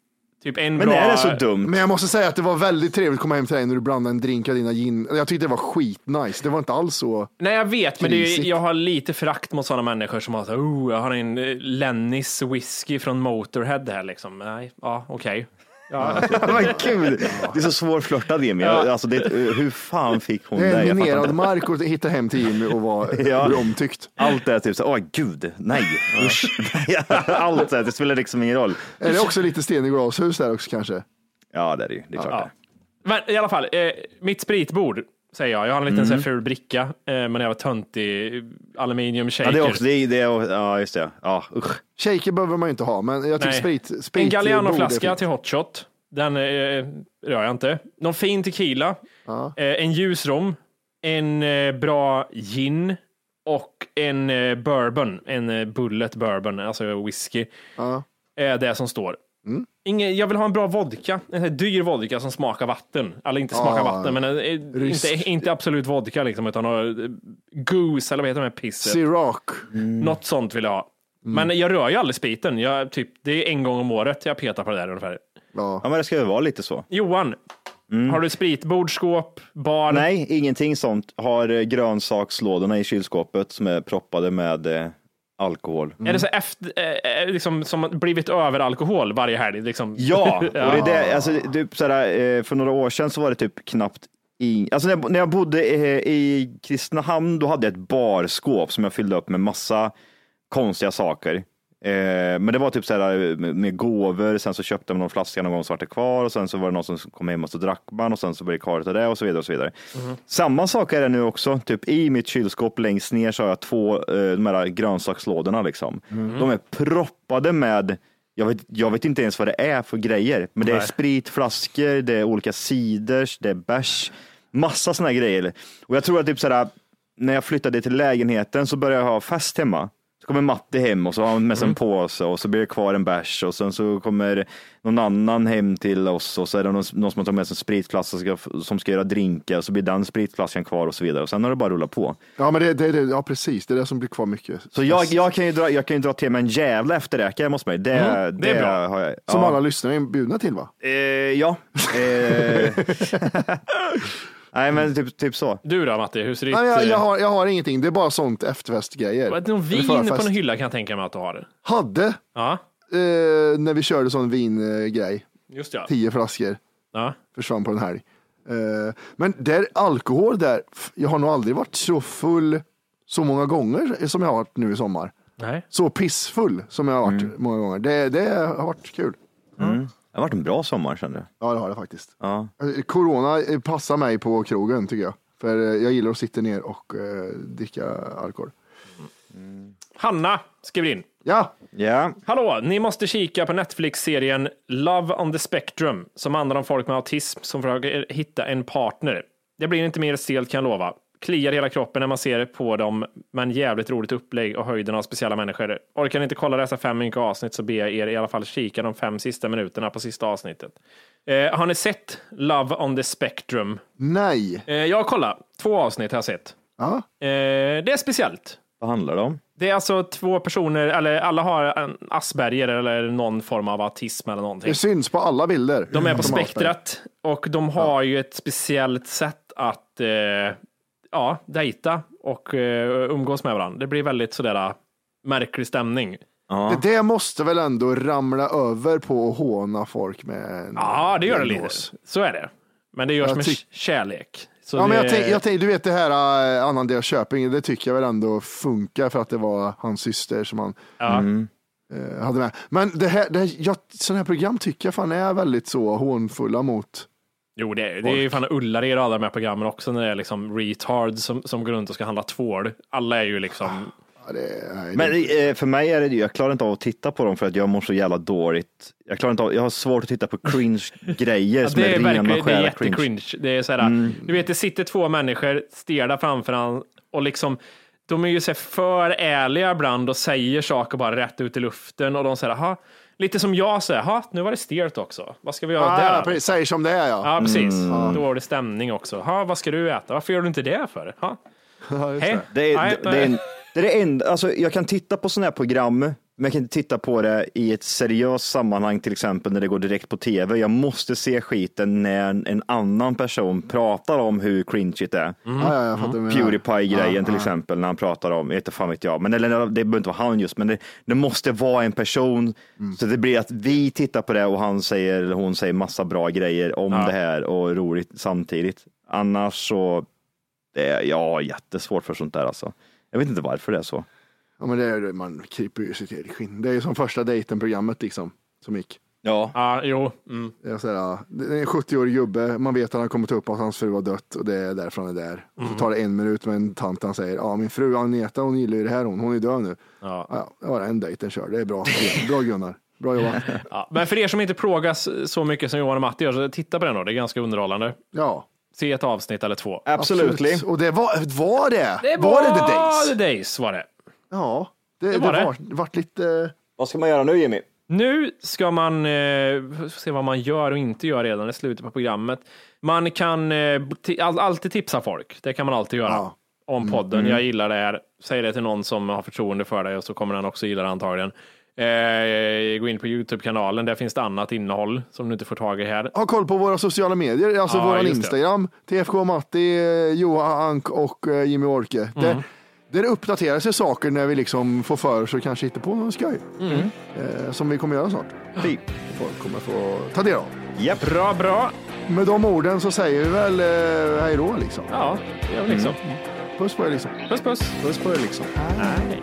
Typ en bra... Men jag måste säga att det var väldigt trevligt att komma hem till dig när du blandade en drink av dina gin. Jag tyckte det var skitnice. Det var inte alls så. Nej, jag vet, men det är, Krisigt. jag har lite förakt mot sådana människor som har så här, oh, jag har en eh, Lennys whisky från Motorhead här liksom. Nej, ja, okej. Ja. Vad kul! Det är så svårflörtad Jimmy. Jag- Ja. Alltså, det, hur fan fick hon Det är det? en Jag fattar minerad inte. mark att hitta hem till Jimmy och vara bli omtyckt. Allt det är typ så åh gud, nej, usch. Allt det här, det spelar liksom ingen roll. Är det också lite sten i glashus där också kanske? Ja, det är det ju. Det är klart Ja. Men i alla fall, eh, mitt spritbord säger jag. Jag har en liten Mm. så här ful bricka, eh, men jag var det. töntig aluminiumshaker. Ja, det är också, det är, det är, ja, just det. Ja, usch. Shaker behöver man ju inte ha, men jag tycker Nej. sprit, sprit... en borde- Galliano-flaska till hot shot. Den eh, rör jag inte. Någon fin tequila. Eh, en ljus rom. En eh, bra gin. Och en eh, bourbon. En eh, bullet bourbon, alltså whisky. Ja. Mm. Eh, det som står. Ingen, jag vill ha en bra vodka. En sån här dyr vodka som smakar vatten. Eller inte smakar Ja. vatten, men eh, Rysk. inte, inte absolut vodka liksom, utan något, eh, goose eller vad heter de här pisset? Ciroc. Mm. Något sånt vill jag ha. Men jag rör ju aldrig spriten. Jag, typ, det är en gång om året jag petar på det där ungefär. Ja. Ja, men det ska ju vara lite så. Johan, har du spritbord, skåp, bar? Mm. Nej, ingenting sånt. Har eh, grönsakslådorna i kylskåpet som är proppade med eh, alkohol. Är det så efter, eh, eh, liksom, som har blivit över alkohol varje helg? Liksom? Ja, och det är det, alltså, typ, såhär, eh, för några år sedan så var det typ knappt in... Alltså när jag, när jag bodde eh, i Kristinehamn, då hade jag ett barskåp som jag fyllde upp med massa konstiga saker. Eh, Men det var typ så här med med gåvor, sen så köpte man någon flaska någon gång så vart det kvar och sen så var det någon som kom hem och så drack man och sen så blev det kvar av det och så vidare. Och så vidare. Samma sak är det nu också, typ i mitt kylskåp längst ner så har jag två eh, de här grönsakslådorna liksom. De är proppade med jag vet, jag vet inte ens vad det är för grejer, men det är Nej. spritflaskor, det är olika ciders, det är bärs, massa sådana grejer. Och jag tror att typ sådär, när jag flyttade till lägenheten så började jag ha fest hemma. Så kommer Matti hem och så har han med sig Mm. en påse och så blir det kvar en bärs och sen så kommer någon annan hem till oss och så är det någon, någon som har tagit med sig en spritflaska som ska, som ska göra drinkar och så blir den spritflaskan kvar och så vidare. Och sen har det bara rullat på. Ja, men det, det, det, ja, precis. Det är det som blir kvar mycket. Så jag, jag, kan, ju dra, jag kan ju dra till mig en jävla efterräkare måste man ju. Det, Mm, det är bra. Har jag, Som ja. alla lyssnare är bjudna till va? Eh, ja. Eh. Nej, men typ, typ så. Du då Matti, hur ser ditt... Nej, jag, jag, eh, har, jag har ingenting, det är bara sånt efterfestgrejer. vad- Någon vin Eller på förfest. någon hylla kan jag tänka mig att du har. Hade, Ja, eh, när vi körde sån vingrej, just ja. tio flaskor ja. försvann på en helg. Eh, Eh, Men där, alkohol där, f- jag har nog aldrig varit så full så många gånger som jag har varit nu i sommar. Nej. Så pissfull som jag har varit många gånger. Det, det har varit kul. Mm. Det har varit en bra sommar kände jag. Ja, det har det faktiskt. Ja. Eh, Corona eh, passar mig på krogen tycker jag. För eh, jag gillar att sitta ner och eh, dricka alkohol. Hanna skriver in. Ja. ja. Hallå, ni måste kika på Netflix-serien Love on the Spectrum som handlar om folk med autism som försöker hitta en partner. Det blir inte mer stelt kan jag lova. Kliar i hela kroppen när man ser på dem, men jävligt roligt upplägg och höjden av speciella människor. Orkar ni inte kolla dessa fem ynka avsnitt så ber jag er i alla fall kika de fem sista minuterna på sista avsnittet. Eh, har ni sett Love on the Spectrum? Nej. Eh, jag har kollat. Två avsnitt har jag sett. Ja. Eh, det är speciellt. Vad handlar det om? Det är alltså två personer, eller alla har en Asperger eller någon form av autism eller någonting. Det syns på alla bilder. Mm. De är på Som har varit där. spektrat och de har ju ett speciellt sätt att eh, ja, dejta och eh, umgås med varandra. Det blir väldigt sådär eh, märklig stämning. Det, det måste väl ändå ramla över på att håna folk med en Ja, det gör det lite. diagnos. Så är det. Men det görs Jag med tyck- kärlek. Så ja, men det- jag tänk, jag tänk, du vet det här eh, Annan Köping, det tycker jag väl ändå funkar för att det var hans syster som han eh, hade med. Men det här, det här, jag, sådana här program tycker jag fan är väldigt så hånfulla mot. Jo, det är, det är ju fan Ullared och alla de här programmen också när det är liksom retards som, som går runt och ska handla tvål. Alla är ju liksom... Men eh, för mig är det jag klarar inte av att titta på dem för att jag mår så jävla dåligt. Jag klarar inte av, jag har svårt att titta på cringe grejer som det är, är rena verkligen, det är skära cringe. jättecringe. Det är så här, Mm. du vet, det sitter två människor stela framför han och liksom, de är ju så här för ärliga ibland och säger saker bara rätt ut i luften och de säger, aha, lite som jag säger, aha, nu var det stelt också. Vad ska vi göra Ah, där? ja, precis. Säger som det är ja. Ja, precis. Mm. Ja. Då var det stämning också. Ha, vad ska du äta? Varför gör du inte det för? Ha? Hej. Det Nej, är, det, är, det är det enda, alltså jag kan titta på sådana här program, men jag kan inte titta på det i ett seriöst sammanhang, till exempel när det går direkt på tv. Jag måste se skiten när en, en annan person pratar om hur cringe det är. Mm. Ja, ja, jag fattar vad du menar. Pewdiepie-grejen Ja, till ja. exempel, när han pratar om, jag vet inte fan vet jag, men eller, det behöver inte vara han just, men det, det måste vara en person. Så det blir att vi tittar på det och han säger, eller hon säger massa bra grejer om det här och roligt samtidigt. Annars så det är, jag har jättesvårt för sånt där alltså. Jag vet inte varför det är så. Ja, men det är, det, man kryper ju sitt eget skinn. Det är ju som första dejten-programmet liksom, som gick. Ja. Ja, jo. Mm. Det är, så här, ja, det är en 70-årig gubbe, man vet att han kommer ta upp att hans fru har dött och det är därför han är där. Och så Mm. tar det en minut med en tant han säger, ja min fru Agneta hon gillar ju det här hon, hon är död nu. Ja. Ja, det var en dejt den kör, det är bra. Bra Gunnar, bra jobbat. Ja, men för er som inte plågas så mycket som Johan och Matti gör, så titta på den då. Det är ganska underhållande. Ja. Se ett avsnitt eller två. Absolut. Och det var, var det? var, det The Days? The Days var det. Ja, det, det, Det var var det. Vart, vart lite... Vad ska man göra nu Jimmy? Nu ska man eh, får se vad man gör och inte gör redan i slutet på programmet. Man kan eh, ti- all, alltid tipsa folk. Det kan man alltid göra. Om podden. Mm. Jag gillar det här. Säg det till någon som har förtroende för dig och så kommer den också gilla det antagligen. Eh, gå in på Youtube-kanalen. Där finns det annat innehåll som du inte får tag i här. Ha koll på våra sociala medier, alltså Ja, våran just det. Instagram, TFK Matti, eh, Johan Ank och eh, Jimmy Orke. Mm. Där, där uppdateras ju saker när vi liksom får för oss och kanske hittar på någon skoj. Mm. Eh, som vi kommer göra snart. Fint. Folk kommer få ta del av. Typ. Japp. Bra, bra. Med de orden så säger vi väl eh, hej då liksom. Ja, det gör vi liksom. Mm. Puss på er liksom. Puss puss. Puss på er liksom. Nej.